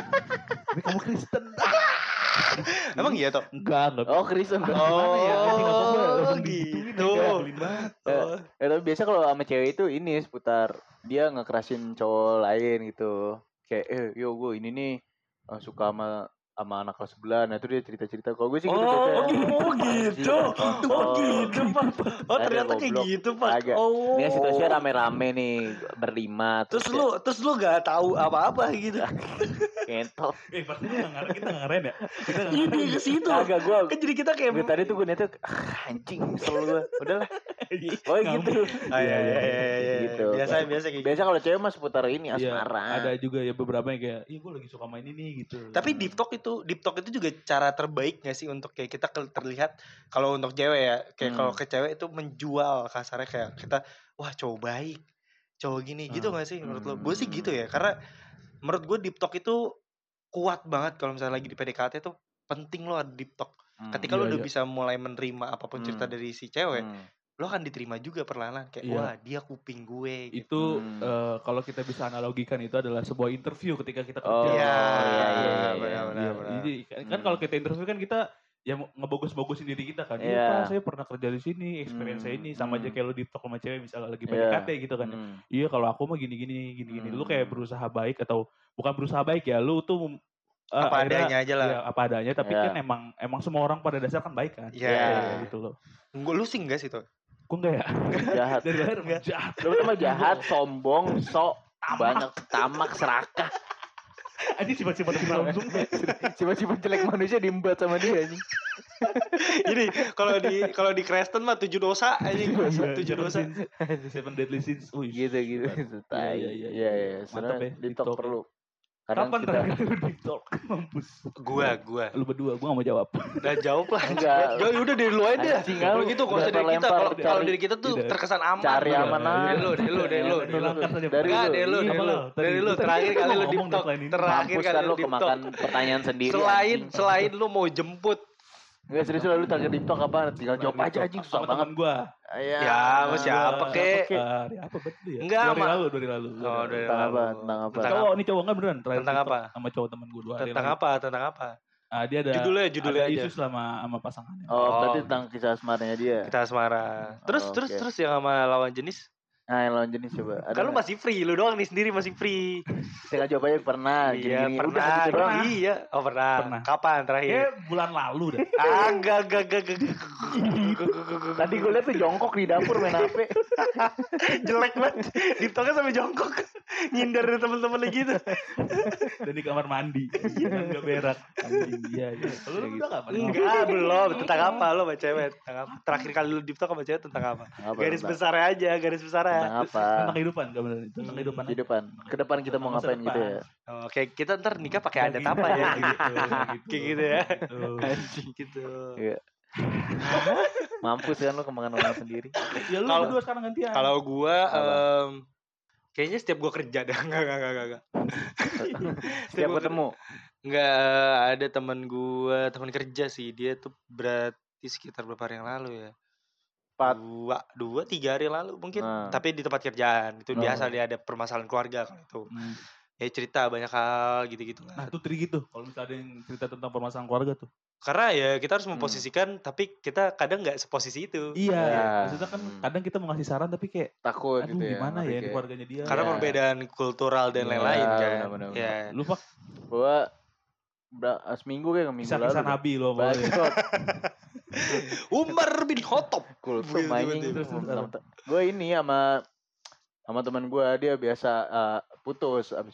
S1: Tapi kamu Kristen?
S2: Emang iya toh?
S1: Enggak, enggak.
S3: Oh
S2: (laughs)
S3: Kristen
S1: Ah, gimana ya? Nanti nggak apa-apa,
S2: Oh,
S1: langsung digituin
S2: gitu.
S1: aja, nyebelin banget.
S2: Oh,
S3: Eh, tapi biasa kalau sama cewek itu ini seputar dia ngekerasin cowok lain gitu. Kayak eh yo gue ini nih eh, suka sama sama anak kelas sebelah. Nah itu dia cerita-cerita. Kalau gue sih gitu biasanya.
S2: oh, gitu.
S3: Iya,
S2: Oh, gitu, Pak. Oh,
S3: Ada
S2: ternyata kayak
S3: goblok.
S2: gitu, Pak.
S3: Agak.
S2: Oh.
S3: Ini situasinya rame-rame nih berlima.
S2: Terus
S3: kayak
S2: lu, terus lu gak tahu apa-apa gitu.
S3: kentot.
S1: (laughs) Eh, pasti lu nggak ngarep, kita nggak ngeren ya? Kita nggak
S2: Ini
S1: ngeren.
S2: Iya, ke situ.
S3: Agak gue
S2: Kan jadi kita kayak (laughs)
S3: Gue tadi tuh gue niatnya ah, anjing selalu gue udahlah
S1: tai.
S3: Oh gitu.
S2: Ah, iya, iya, iya, iya, iya.
S3: Gitu.
S2: Biasa, biasa kayak gitu.
S3: Biasa kalau cewek mah seputar ini
S1: Iya,
S3: asmara.
S1: Ada juga ya beberapa yang kayak, "Ih, gue lagi suka main ini" gitu.
S2: Tapi deep talk itu, deep talk itu juga cara terbaik gak sih untuk kayak kita ke- terlihat kalau untuk cewek ya, kayak
S3: Hmm.
S2: kalau ke cewek itu menjual kasarnya kayak kita, wah cowok baik, cowok gini gitu
S1: Ah,
S2: gak sih menurut lo? Gue sih
S3: hmm.
S2: gitu ya, karena menurut gue deep talk itu kuat banget kalau misalnya lagi di PDKT itu penting lo ada deep talk.
S3: Hmm.
S2: Ketika
S1: Iya,
S2: lo udah
S1: iya.
S2: bisa mulai menerima apapun cerita
S3: Hmm.
S2: dari si cewek,
S3: Hmm.
S2: lo akan diterima juga perlahan-lahan kayak
S1: Iya.
S2: wah dia kuping gue. gitu.
S1: itu
S3: Hmm.
S1: eh, kalau kita bisa analogikan itu adalah sebuah interview ketika kita
S3: Oh,
S1: kerja.
S2: Iya,
S3: iya, iya,
S2: iya,
S3: iya,
S2: benar, benar,
S1: Iya,
S2: benar.
S1: Jadi kan, kan
S3: Hmm.
S1: kalau kita interview kan kita ya mau ngebogus-bogusin diri kita kan. Iya,
S3: Iya.
S1: Pak, saya pernah kerja di sini, experience saya
S3: Hmm,
S1: ini sama aja
S3: hmm.
S1: kayak lo di talk sama cewek misalnya lagi
S3: Iya.
S1: PDKT gitu
S2: ya?
S1: kan.
S3: Hmm.
S1: Iya, kalau aku mah gini-gini, gini-gini. Lu kayak
S3: Hmm.
S1: berusaha baik atau bukan berusaha baik ya, lu tuh mem- eh,
S2: Apa
S1: akhirnya-
S2: adanya aja lah.
S1: Iya, apa adanya, tapi
S3: Iya.
S1: kan emang emang semua orang pada dasarnya kan baik kan.
S2: Iya.
S1: Kayak gitu loh.
S2: Gue lu sih enggak sih tuh.
S1: Kok enggak ya?
S3: Jahat.
S1: Dari lahir emang jahat.
S3: Lu tuh mah jahat, sombong, sok, banyak tamak,
S2: (laughs)
S3: serakah.
S1: Ini sifat-sifat langsung.
S3: Coba-coba jelek manusia diembat sama dia anjing.
S2: (laughs) Jadi kalau di kalau di Kristen mah tujuh dosa anjing.
S1: Iya,
S2: tujuh dosa.
S1: Seven deadly sins. Wih,
S3: Gitu gitu. gitu. Tai.
S1: Iya, iya, iya.
S3: Iya iya.
S1: Mantap
S3: Sebenarnya
S1: ya,
S3: di
S1: di
S3: talk
S1: talk.
S3: perlu. Kadang
S1: Kapan
S3: kita
S1: terakhir lu di talk? Mampus. Iya.
S2: Gua, gua.
S1: Lu berdua, gua gak mau jawab.
S2: Udah jawab
S3: (laughs)
S2: lah.
S3: Enggak.
S2: (laughs) Jauh udah dari lu aja.
S3: Anjing,
S2: Kalau
S3: lu
S2: gitu kalau
S3: udah
S2: dari kita
S3: terlempar,
S2: kalau kalau
S3: cari-
S2: dari kita tuh
S1: tidak.
S2: terkesan aman.
S3: cari
S1: Iya,
S3: aman
S1: iya,
S3: aja.
S2: Dari lu, dari lu, dari lu, dari
S1: Lu
S2: lu.
S1: langkah saja.
S3: Dari
S2: Enggak,
S3: lu.
S2: dari lu,
S1: Iya,
S2: dari
S1: apa
S2: lu.
S1: lah? Tadi-
S2: Dari lu
S1: tadi
S2: terakhir
S1: kita
S2: kali lu
S1: ngomong
S2: di talk.
S1: tagline ini.
S2: Terakhir
S3: Mampus
S2: kali
S3: kan
S2: lu
S3: lu
S2: di talk.
S3: kemakan pertanyaan sendiri.
S2: Selain
S3: anjing.
S2: selain lu mau jemput.
S3: Enggak serius lu terakhir di talk apa? Tinggal jawab
S1: Sama
S3: aja anjing susah
S1: temen
S3: banget.
S1: gua.
S3: Iya.
S2: Ya, sama siapa
S1: Gua-
S2: kek?
S1: Siapa, Hari apa betul ya?
S2: Enggak,
S1: Dua hari
S2: Ma.
S1: lalu, dua hari lalu. dua
S2: Oh,
S1: hari lalu.
S2: dari
S3: Iya, Tentang
S2: lu.
S3: apa? Tentang apa?
S2: Tentang
S1: Cowok, ini cowok gak beneran. Terakhir
S2: Tentang
S1: di talk
S2: apa?
S1: Sama cowok temen gue dua hari
S2: Tentang
S1: lalu.
S2: apa? Tentang apa?
S1: Ah, dia ada
S2: Judulnya, judulnya
S1: ada
S2: aja.
S1: isu sama sama
S2: (laughs)
S1: pasangannya.
S3: Oh, berarti
S2: Oh.
S3: tentang kisah asmaranya dia.
S2: Kita asmara. Terus
S3: Oh,
S2: terus
S3: oke.
S2: terus yang sama lawan jenis.
S3: Nah, yang lawan jenis coba.
S2: Kan
S3: Ada
S2: lu
S3: nggak?
S2: masih free, lu doang nih sendiri masih free.
S3: tinggal jawab aja pernah.
S2: Iya,
S3: gini-gini.
S2: pernah.
S3: Ah, Udah gitu doang. Eh,
S1: doang.
S2: Iya, oh pernah.
S1: Pernah.
S2: Kapan terakhir?
S1: Kayak bulan lalu dah.
S2: Ah, enggak, enggak, enggak, enggak, enggak.
S3: (laughs) Tadi gue liat tuh jongkok di dapur main HP.
S2: jelek banget. Diptoknya sampai
S3: (laughs)
S2: jongkok. Nyindar dari temen-temen gitu.
S1: Dan di kamar mandi. Iya. Dan gak berak. Anjing, Iya, iya. Kalau lu
S3: gitu.
S1: udah gak pernah.
S2: Enggak, Ah, belum. Tentang apa lo sama
S3: (laughs)
S2: cewek? Tentang apa? Terakhir kali lu diptok sama cewek tentang apa?
S3: Apa,
S2: Garis
S3: tentang-
S2: besarnya aja, garis ya. besarnya.
S3: Tentang apa?
S1: Tentang kehidupan gak bener. Tentang kehidupan eh. (laughs)
S3: Di depan. Ke depan kita mau
S1: Masa
S3: ngapain
S1: depan.
S3: gitu ya.
S2: Oke, kita ntar nikah pakai adat
S1: Kayak
S2: apa
S1: gitu,
S2: ya?
S1: kayak gitu,
S2: Kayak gitu ya. (laughs)
S1: kayak gitu.
S2: Gitu.
S3: Iya. Mampus kan lu kemakan orang sendiri.
S1: Ya lu
S2: Kalau-
S1: berdua sekarang gantian.
S2: Kalau gua
S3: Apa?
S2: em, kayaknya setiap gua kerja (laughs) dah. Enggak, enggak, enggak, enggak, enggak.
S3: Setiap ketemu.
S2: Enggak eh, ada teman gua, teman kerja sih. Dia tuh berarti sekitar berapa hari yang lalu ya?
S3: Empat.
S2: Dua, dua, tiga hari lalu mungkin.
S3: Nah.
S2: Tapi di tempat kerjaan. Itu
S1: Oh.
S2: biasa dia ada permasalahan keluarga kalau itu.
S1: Hmm.
S2: Ya cerita banyak hal gitu-gitu kan.
S1: Nah,
S3: Ah.
S2: lah.
S1: itu tri gitu. Kalau misalnya ada yang cerita tentang permasalahan keluarga tuh.
S2: Karena ya kita harus
S3: Hmm.
S2: memposisikan, tapi kita kadang nggak seposisi itu.
S1: Iya.
S3: Iya.
S1: Maksudnya kan
S3: Hmm.
S1: kadang kita mau ngasih saran tapi kayak
S3: Takut
S1: aduh
S3: gitu ya.
S1: gimana
S3: ngeri
S1: ya, ini
S3: kayak.
S1: keluarganya dia.
S2: Karena
S3: Iya.
S2: perbedaan kultural dan
S1: Iya,
S2: lain-lain kan.
S3: benar-benar.
S2: Iya.
S1: lu pak
S3: Gua bra- seminggu kayak minggu lalu.
S1: kisah-kisah
S3: dah.
S1: nabi lo boleh.
S3: Bacot.
S2: Umar bin Khattab.
S3: kultum
S2: Gitu,
S3: anjing
S1: terus, terus,
S3: gue ini sama sama teman gue dia biasa eh, putus abis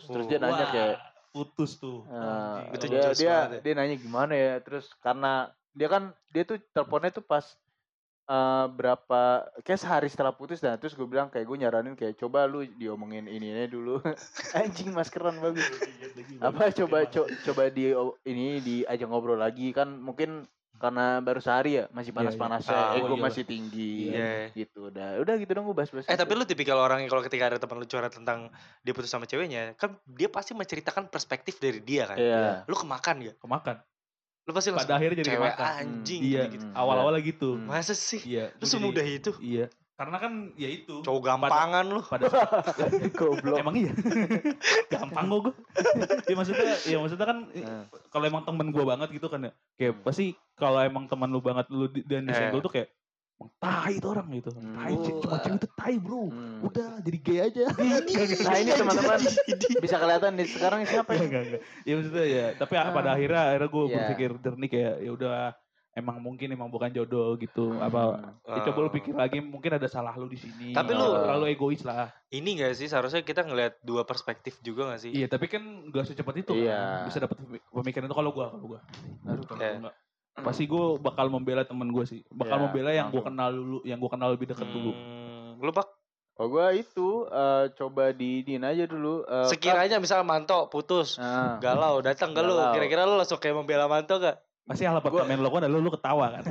S1: Wah.
S3: terus dia nanya
S1: Wah,
S3: kayak
S1: putus tuh.
S3: eh,
S1: Anjing.
S2: Itu
S3: dia
S2: jelas
S3: dia
S2: banget ya.
S3: dia nanya gimana ya terus karena dia kan dia tuh teleponnya tuh pas eh, berapa kayak sehari setelah putus dan terus gue bilang kayak gue nyaranin kayak coba lu diomongin ininya dulu (laughs) anjing maskeran bagus apa coba co- coba di oh, ini diajak ngobrol lagi kan mungkin karena baru sehari ya masih
S1: Iya, iya.
S3: panas-panasnya
S2: Ah,
S3: ego
S1: iya.
S3: masih tinggi
S1: Iya.
S2: Iya.
S3: gitu udah udah gitu dong gue bahas-bahas
S2: Eh
S3: gitu.
S2: tapi lu tipikal orang yang kalau ketika ada teman lu curhat tentang dia putus sama ceweknya, kan dia pasti menceritakan perspektif dari dia kan.
S3: iya
S2: Lu kemakan gak?
S1: Kemakan.
S2: Lu pasti
S1: Pada
S2: langsung
S1: akhirnya jadi
S2: cewek
S1: kemakan.
S2: anjing
S1: Iya.
S2: gitu.
S3: Hmm.
S1: Awal-awal gitu.
S3: Hmm.
S2: Masa sih?
S1: Iya.
S2: Lu
S1: gua jadi-
S2: semudah itu?
S1: Iya. Karena kan ya itu.
S2: Cowok gampangan lu.
S1: Pada
S3: (laughs)
S1: saat
S3: goblok
S1: Emang iya. (laughs) Gampang kok gue. (laughs) ya maksudnya ya maksudnya kan i-
S3: Nah.
S1: kalau emang temen gue banget gitu kan ya. Kayak
S3: Hmm.
S1: pasti kalau emang teman lu banget lu di- dan disentuh tuh kayak "Emang tai itu orang gitu.
S3: Eh. Hmm.
S1: Tai ce- cuma cewek itu tai, Bro.
S3: Hmm.
S1: Udah jadi gay aja.
S3: (laughs)
S1: gitu.
S3: nah ini
S1: (laughs)
S3: teman-teman bisa kelihatan nih sekarang siapa
S1: Enggak,
S3: yang
S1: enggak, enggak. Ya maksudnya ya, tapi a- pada akhirnya akhirnya gue
S3: Ah. Iya.
S1: berpikir jernih kayak ya udah emang mungkin emang bukan jodoh gitu apa
S3: Hmm.
S1: ya coba lu
S2: Oh.
S1: pikir lagi mungkin ada salah lu di sini
S2: Tapi
S1: Jangan
S3: Ah. lu-
S1: terlalu egois lah
S2: Ini gak sih seharusnya kita ngeliat dua perspektif juga gak sih?
S1: iya tapi Iya, kan gak secepat itu kan.
S3: Iya.
S1: bisa dapat pemikiran itu kalau gua kalau gua
S3: Aduh,
S1: Kalau
S2: Iya.
S1: gua enggak. pasti gue bakal membela teman gue sih bakal
S3: Ya,
S1: membela yang gue
S3: langsung.
S1: kenal dulu yang gue kenal lebih dekat dulu Eh,
S2: Hmm, lu pak
S3: Oh gua itu eh, coba diin aja dulu. eh,
S2: sekiranya misalnya Manto putus
S3: Kak.
S1: Ah.
S3: Nah,
S2: galau datang ke lu
S3: Galau.
S2: kira-kira lu langsung kayak membela Manto gak
S1: pasti hal apartemen lo kan lu lu ketawa
S3: (laughs)
S1: kan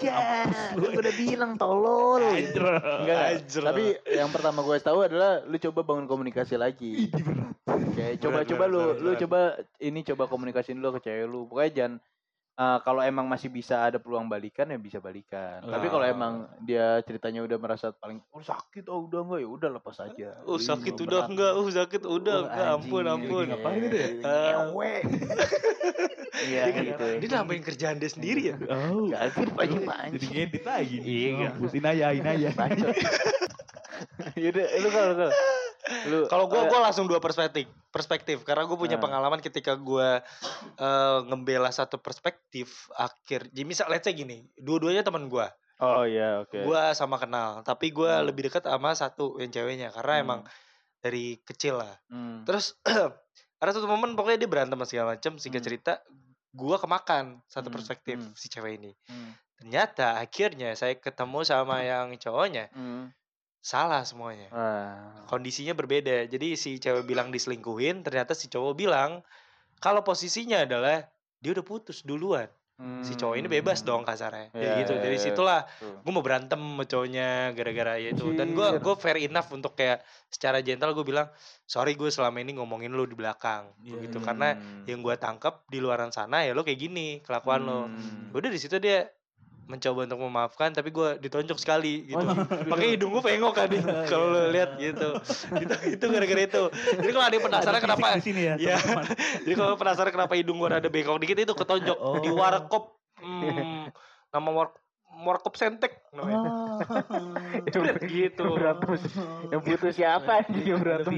S3: ya,
S1: Mampus lu.
S3: gua udah bilang tolol.
S1: Anjir.
S3: Enggak, enggak.
S2: Anjir.
S3: Tapi yang pertama gue tahu adalah lu coba bangun komunikasi lagi. Kayak coba
S2: Berat,
S3: coba
S2: berat,
S3: lu
S2: berat,
S3: lu
S2: berat.
S3: coba ini coba komunikasiin dulu ke cewek lu. Pokoknya jangan eh, kalau emang masih bisa ada peluang balikan ya bisa balikan. Tapi kalau
S2: Ah.
S3: emang dia ceritanya udah merasa paling oh sakit oh udah enggak ya udah lepas aja.
S1: Iya,
S2: uh
S3: Ih,
S2: sakit
S3: berat.
S2: udah enggak uh sakit udah
S3: Oh,
S2: enggak ampun
S3: anjing,
S2: ampun Eh.
S3: iya.
S1: Ngapain itu ya?
S3: Ngewe. Iya
S2: Dia-
S3: gitu.
S2: dia nambahin kerjaan dia sendiri ya
S1: oh
S3: Gak asik
S1: Aduh,
S3: pancing
S1: jadi
S3: pancing.
S1: ngedit lagi Oh,
S3: Iya, enggak.
S1: Mampus, inaya inaya
S3: Bacot. (laughs) Yaudah, lu kalau kalau lu
S2: Kalau gue,
S3: eh,
S2: gue langsung dua perspektif, perspektif. Karena gue punya
S3: Ah.
S2: pengalaman ketika gue ngebela satu perspektif akhir. Jadi misal, let's say gini, dua-duanya teman gue,
S3: Oh iya, oke.
S2: gue sama kenal. Tapi gue
S3: Hmm.
S2: lebih dekat sama satu yang ceweknya, karena
S3: Hmm.
S2: emang dari kecil lah.
S3: Hmm.
S2: Terus (clears throat) ada satu momen pokoknya dia berantem sama segala macem. Singkat
S3: Hmm.
S2: cerita, gue kemakan satu
S3: Hmm,
S2: perspektif
S3: hmm.
S2: si cewek ini.
S3: Hmm.
S2: Ternyata akhirnya saya ketemu sama yang cowoknya,
S3: Hmm.
S2: salah semuanya.
S3: Ah.
S2: kondisinya berbeda. Jadi si cewek bilang diselingkuhin, ternyata si cowok bilang kalau posisinya adalah dia udah putus duluan.
S3: Hmm.
S2: Si cowok ini bebas dong kasarnya. Ya
S3: Ya,
S2: gitu.
S3: ya,
S2: Dari
S3: ya.
S2: situlah
S3: Betul.
S2: gue mau berantem sama cowoknya gara-gara ya itu. Dan gue
S3: Anjir.
S2: gue fair enough untuk kayak secara gentle gue bilang sorry gue selama ini ngomongin lu di belakang
S1: Iya,
S2: gitu.
S1: iya.
S2: Karena yang gue tangkap di luaran sana ya lo kayak gini kelakuan lo.
S3: Hmm.
S2: Udah di situ dia mencoba untuk memaafkan tapi gue ditonjok sekali
S3: Oh,
S2: gitu.
S3: iya.
S2: (laughs) Makanya hidung gue pengok kan
S3: (laughs)
S2: nih, kalau lo lihat gitu. Itu itu gara-gara itu. Jadi kalau ada yang penasaran
S1: Ada
S2: kenapa
S1: fisik di sini ya
S2: Iya.
S1: teman-teman.
S3: (laughs)
S2: jadi kalau penasaran kenapa hidung gue ada bengkok dikit itu ketonjok
S1: Oh.
S2: di warkop. Hmm, nama warkop warkop sentek
S3: Oh.
S2: namanya.
S1: Ah.
S2: (laughs) gitu.
S3: Yang berantem. Yang putus
S2: Iya.
S3: siapa anjing yang berantem?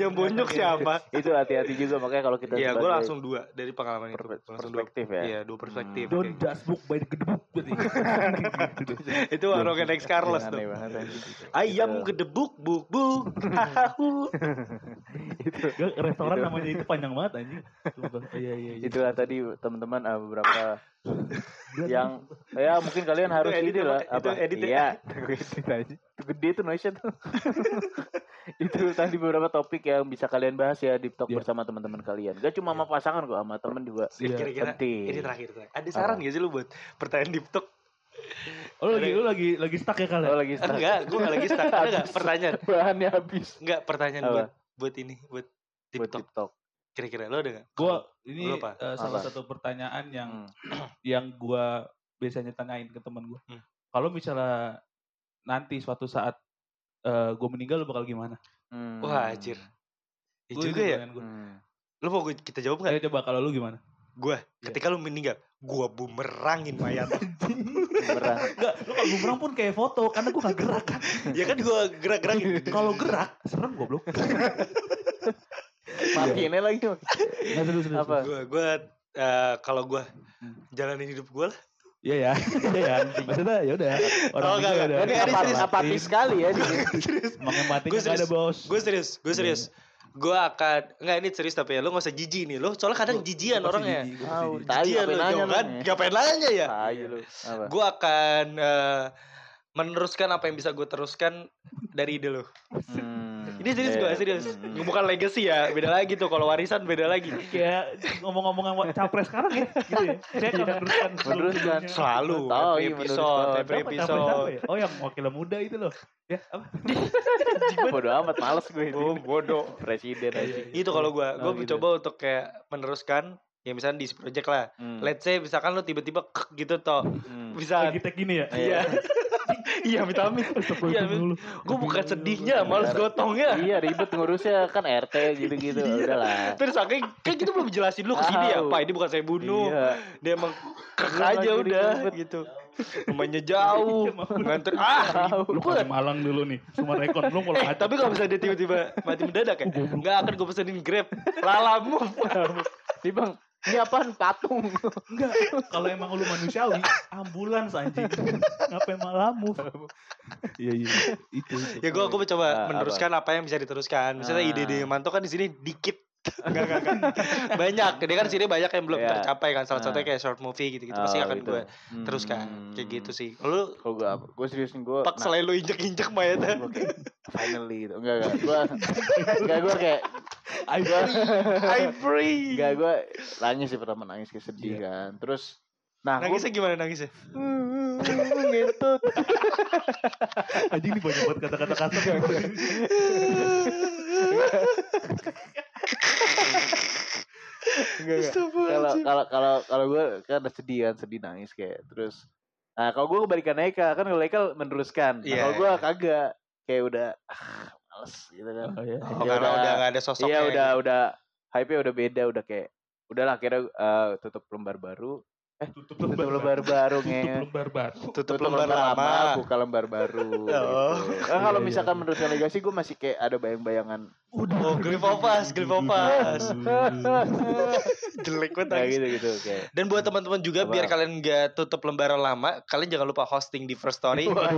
S2: Yang bonyok siapa?
S3: Itu hati-hati juga makanya kalau kita
S2: Iya, gue
S3: sebagai
S2: langsung dua dari pengalaman itu.
S3: perpe-
S2: Gua Langsung dua.
S3: perspektif ya.
S2: Iya, dua perspektif.
S3: Hmm.
S2: kayak
S1: Don't just book by the (laughs) gedebuk berarti. Gitu.
S2: gitu. Itu Arogan X Carlos
S3: Jangan
S2: tuh.
S3: Iya, aneh banget,
S2: (laughs)
S3: anjing.
S2: Ayam
S3: Gitu.
S2: gedebuk buk buk.
S3: (laughs)
S2: tahu.
S3: Itu.
S1: Gak, restoran
S3: Gitu.
S1: namanya itu panjang banget anjing. Sumpah. Iya iya iya.
S3: Itulah tadi teman-teman ah, beberapa yang ya mungkin kalian harus
S2: edit
S3: ini
S2: ya,
S3: lah
S2: Pak. Itu
S3: apa
S2: edit ya. (laughs)
S3: iya Itu aja. Itu gede tuh noise tuh (laughs) itu tadi beberapa topik yang bisa kalian bahas ya di talk
S1: Iya.
S3: bersama teman-teman kalian gak cuma
S2: Iya.
S3: sama pasangan kok sama teman juga
S1: Iya.
S2: Kira-kira
S3: penting
S2: ini terakhir. terakhir. Ada saran
S3: Apa?
S2: gak sih lu buat pertanyaan di TikTok?
S1: Oh lu lagi lu lagi lagi stuck ya
S3: oh
S1: kalian?
S3: lagi stuck.
S2: Kan Enggak, gue gak lagi stuck. Ada gak
S3: Habis.
S2: pertanyaan?
S3: bahannya habis
S2: Enggak, pertanyaan
S3: Apa?
S2: buat buat ini, buat
S3: buat
S2: TikTok.
S3: TikTok
S2: Kira-kira lo ada gak?
S1: Gua ini
S2: Lu apa?
S1: eh, salah
S3: Apa?
S1: satu pertanyaan yang
S3: Hmm.
S1: yang gua biasanya tanyain ke temen gua.
S2: Hmm.
S1: Kalau misalnya nanti suatu saat eh gua meninggal lu bakal gimana?
S3: Hmm.
S2: Wah, anjir. Ya
S1: Gua Eh,
S2: juga
S1: itu
S2: ya.
S1: pertanyaan gua.
S3: Hmm.
S2: Lo mau gua- kita jawab gak?
S1: Ayo coba kalau lu gimana?
S2: Gue, ketika lo meninggal, gue bumerangin mayat.
S3: Berat.
S2: (laughs)
S1: Enggak, lu kalau bumerang pun kayak foto karena gua gak gerak kan.
S2: ya kan gue gerak-gerakin.
S1: (laughs) Kalau gerak serem goblok.
S2: Iya.
S3: matiin aja lagi
S1: Enggak serius serius.
S3: Apa?
S2: Gue, gue, eh, kalau gue jalanin hidup gue lah.
S1: Iya ya, iya ya. Maksudnya ya udah.
S2: Oh,
S1: meninggal
S2: enggak, enggak.
S1: udah.
S3: ini
S2: Serius,
S3: apat,
S2: serius.
S3: apatis sekali ya di
S2: (laughs)
S3: sini.
S2: serius.
S1: Makin mati
S2: Gua
S1: nggak ada
S2: serius.
S1: bos.
S2: Gue serius, gue serius. Gue akan, enggak ini serius tapi ya, lo gak usah jijik nih. Lo soalnya kadang jijian orangnya.
S3: Tahu,
S1: Tahu.
S3: tai
S2: Jijian
S3: apa
S2: lo,
S3: nanya
S2: jangan. Ngapain nanya ya?
S3: tai lu apa
S2: Gue akan eh, meneruskan apa yang bisa gue teruskan dari ide lo.
S3: Hmm.
S2: Ini serius
S3: Iya.
S2: gue, serius.
S3: Hmm, hmm.
S2: Bukan legacy ya, beda lagi tuh. Kalau warisan beda lagi.
S1: Kayak ngomong-ngomongan wa- capres sekarang ya, gitu ya. Dia akan meneruskan.
S3: Meneruskan.
S1: sebelumnya.
S2: Selalu,
S3: Tahu,
S2: every
S3: iya, menurut
S2: episode, every
S3: gua.
S1: Siapa capres apa
S2: episode.
S1: ya? Oh yang wakil muda itu loh. Ya, apa?
S3: Bodoh amat, males gue ini.
S2: Oh, bodoh. Iya,
S3: Presiden aja.
S2: Itu kalau gue, gue
S3: Oh, gitu.
S2: mencoba untuk kayak meneruskan. Ya misalnya di project lah.
S3: Hmm.
S2: Let's say misalkan lo tiba-tiba kek gitu toh. Bisa,
S3: Oh,
S1: Lagi
S3: gitu.
S1: tag gini ya.
S2: iya. Iya, vitamin.
S1: Iya,
S2: Iya,
S1: dulu.
S2: Gue bukan sedihnya, males
S3: Iya.
S2: gotongnya.
S3: Iya ribet ngurusnya kan RT gitu-gitu
S2: Iya.
S3: udahlah.
S2: Terus akhirnya, kan kita belum jelasin dulu ke sini ya,
S3: Iya. Tahu.
S2: Pak. Ini bukan saya bunuh.
S3: Iya.
S2: Dia emang kek
S3: Iya,
S2: aja
S3: lagi
S2: udah
S3: ribet.
S2: gitu. Rumahnya jauh.
S1: Iya, maaf.
S2: Nganter ah,
S1: Lu
S2: ribet.
S1: paling malang dulu nih. Cuma rekon lu kalau
S2: (laughs) Eh,
S1: ada.
S2: tapi kalau misalnya dia tiba-tiba mati mendadak ya, nggak akan gue pesenin Grab. Lala (laughs) move.
S3: Nih bang, ini apaan patung?
S2: Gitu
S1: Enggak, kalau emang lu manusiawi, ambulans anjing. Ngapain malamu? Iya, iya. Itu. itu.
S2: ya gue gue
S3: Ah,
S2: coba
S3: apa?
S2: meneruskan apa yang bisa diteruskan. Misalnya
S3: Ah.
S2: ide-ide Manto kan di sini dikit (laughs) Enggak, enggak, enggak. Banyak. Dia kan sini banyak yang belum
S3: Iya.
S2: tercapai kan. Salah
S3: Nah.
S2: satunya kayak short movie gitu-gitu. Pasti
S3: Oh,
S2: akan
S3: gitu.
S2: gue terus kan. Kayak
S3: Hmm.
S2: gitu sih. Lu
S3: Kalau gue apa? Gue serius nih gue.
S2: pak selain lu injek-injek ya?
S3: (laughs)
S2: mayatnya.
S3: nah, Gua kayak, finally gitu. Enggak enggak.
S2: (laughs)
S3: Gua enggak gua kayak gua
S2: I free.
S3: enggak gua nangis sih pertama nangis kayak sedih
S1: Iya.
S3: kan. Terus nah gua
S2: Nangisnya gimana nangisnya?
S3: (laughs) gitu.
S1: Ya, Anjing nih banyak banget kata-kata kasar.
S3: Enggak enggak. Kalau kalau kalau kalau gua kan ada sedih kan, sedih nangis kayak. Terus nah kalau gua kebalikan Eka kan kalau Eka meneruskan. Nah,
S2: Iya.
S3: kalau gua kagak kayak udah ah, males gitu kan.
S1: Oh, iya.
S2: Oh,
S3: Ya
S2: karena
S3: udah.
S2: udah gak ada sosoknya.
S3: Iya udah
S2: gitu.
S3: udah hype udah beda udah kayak udahlah akhirnya eh, tutup lembar baru
S1: Tutup
S3: tutup
S1: lembar.
S3: lembar baru
S1: (laughs) Tutup
S3: nge
S1: lembar baru.
S2: Tutup lembar lama.
S3: buka lembar baru
S2: Oh.
S3: gitu. Kan
S1: Iya,
S3: kalau
S1: iya,
S3: misalkan
S1: iya.
S3: meneruskan legasi gue masih kayak ada bayang-bayangan
S2: Oh, Glyphofas, Glyphofas.
S1: Hmm.
S2: Jelek banget
S3: (laughs) nah
S2: nangis.
S3: gitu gitu kayak
S2: Dan buat teman-teman juga
S3: Apa?
S2: biar kalian gak tutup lembaran lama, kalian jangan lupa hosting di First Story.
S3: Wah,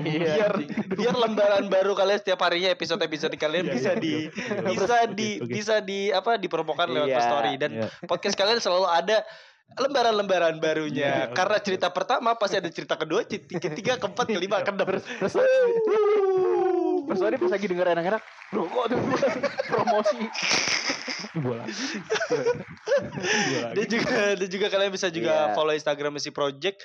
S2: biar
S3: iya.
S2: biar lembaran baru kalian setiap harinya episode-episode kalian
S1: Iya,
S2: Eh, bisa
S1: iya,
S2: di
S1: iya.
S2: bisa
S1: Oke,
S2: di
S1: oke.
S2: bisa di apa dipromokan lewat
S3: Iya.
S2: First Story dan
S1: Iya.
S2: podcast kalian selalu ada lembaran-lembaran
S1: Iya.
S2: barunya karena cerita pertama pasti ada cerita kedua cerita ketiga keempat kelima keenam
S3: terus terus tadi pas lagi denger enak-enak loh kok tuh (laughs) promosi
S1: Dua lagi. Dua lagi.
S2: dan juga dan juga kalian bisa juga
S3: Iya.
S2: follow Instagram si project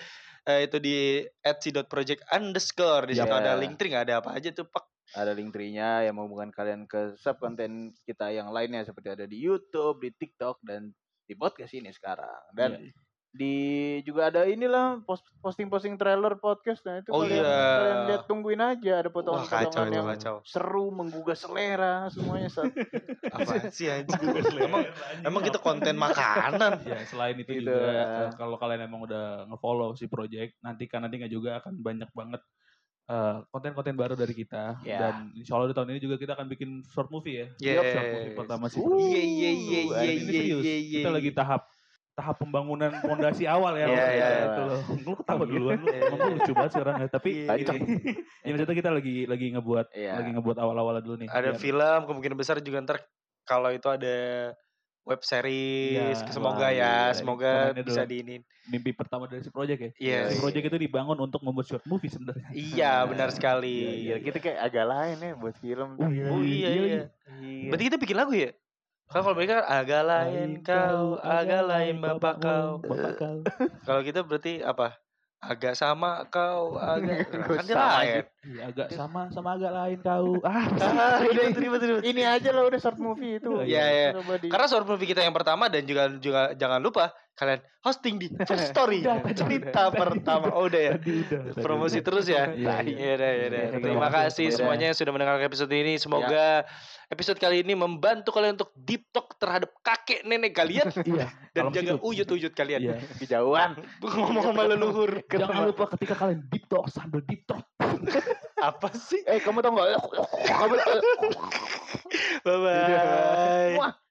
S2: eh, itu di @si.project underscore di situ
S3: Iya.
S2: ada link tree nggak ada apa aja tuh pak
S3: ada link trinya yang menghubungkan kalian ke sub konten kita yang lainnya seperti ada di YouTube di TikTok dan di podcast ini sekarang dan
S1: Iya.
S3: di juga ada inilah post- posting-posting trailer podcast nah itu
S2: Oh
S3: kalian,
S2: iya.
S3: kalian lihat tungguin aja
S2: wah
S3: ada
S2: kacau
S3: potongan-potongan
S2: itu
S3: yang
S2: kacau
S3: seru menggugah selera semuanya
S2: (laughs)
S3: Sat.
S2: apa sih anjing
S1: Gua selera,
S2: emang
S1: anjing.
S2: emang kita konten makanan
S1: ya Iya. selain itu
S3: Gitu,
S1: juga
S3: ya.
S1: eh, kalau kalian emang udah ngefollow si project nanti kan nanti nggak juga akan banyak banget eh, konten-konten baru dari kita
S3: Ya.
S1: dan insya Allah di tahun ini juga kita akan bikin short movie ya
S2: Iya. Yes.
S1: short movie pertama sih
S3: Uh,
S2: Iya, iya, iya,
S1: Project.
S2: iya,
S1: Dan ini
S2: iya,
S1: serius,
S2: iya, iya.
S1: kita lagi tahap tahap pembangunan fondasi awal ya
S3: Iya,
S1: Bang.
S3: iya, iya.
S1: itu loh lu ketawa
S3: Iya.
S1: duluan lu
S2: Iya.
S1: emang lu lucu banget sih orang ya. tapi
S2: Iya.
S1: gini, ya maksudnya kita lagi lagi ngebuat
S3: Iya.
S1: lagi ngebuat awal-awal dulu nih
S2: ada
S1: biar-
S2: film kemungkinan besar juga ntar kalau itu ada web series
S1: Iya,
S2: semoga
S3: wah,
S2: ya
S3: iya.
S2: semoga
S1: Doainnya
S2: bisa
S1: doang.
S2: diinin
S1: mimpi pertama dari si project ya
S2: Yes.
S1: si project itu dibangun untuk membuat short movie sebenarnya
S2: iya benar
S1: Iya,
S2: sekali
S3: Iya, kita kayak agak lain ya buat film. tuh.
S1: iya,
S2: oh iya
S1: iya,
S2: iya
S1: iya.
S3: Iya.
S2: berarti kita bikin lagu ya Kan kalau mereka agak lain kau, agak lain bapak kau.
S1: bapak kau.
S2: Kalau kita berarti apa? Agak sama kau, agak
S3: Gua
S2: kan dia
S3: sama
S2: (laughs) lain.
S1: Iya, agak sama sama agak lain
S2: (laughs)
S1: kau. Ah,
S2: Ah, ribet, ribet, ribet.
S3: ini aja lah udah short movie itu.
S1: Iya,
S2: iya.
S3: Coba di-
S2: Karena short movie kita yang pertama dan juga juga jangan lupa kalian hosting di
S1: (laughs)
S2: First Story
S3: Udah, tadi
S2: cerita pertama. Oh udah ya.
S1: tadi udah. tadi
S2: Promosi
S1: udah.
S2: terus ya.
S1: Iya, iya.
S2: Iya udah, iya udah.
S3: Iya,
S2: Terima
S1: iya.
S2: kasih
S1: Iya.
S2: semuanya yang sudah mendengarkan episode ini.
S1: Ya.
S2: Semoga episode kali ini membantu kalian untuk deep talk terhadap kakek nenek kalian (laughs)
S1: Iya. (laughs)
S2: dan
S1: Dalam
S2: jaga
S1: hidup.
S2: uyut-uyut kalian.
S1: Iya.
S3: kejauhan.
S2: (laughs) Ngomong sama leluhur.
S1: Jangan lupa ketika kalian deep talk sambil deep talk.
S2: Apa sih? (laughs)
S3: Eh kamu tau gak? Kamu
S2: Bye bye.
S1: Iya.
S3: Wah.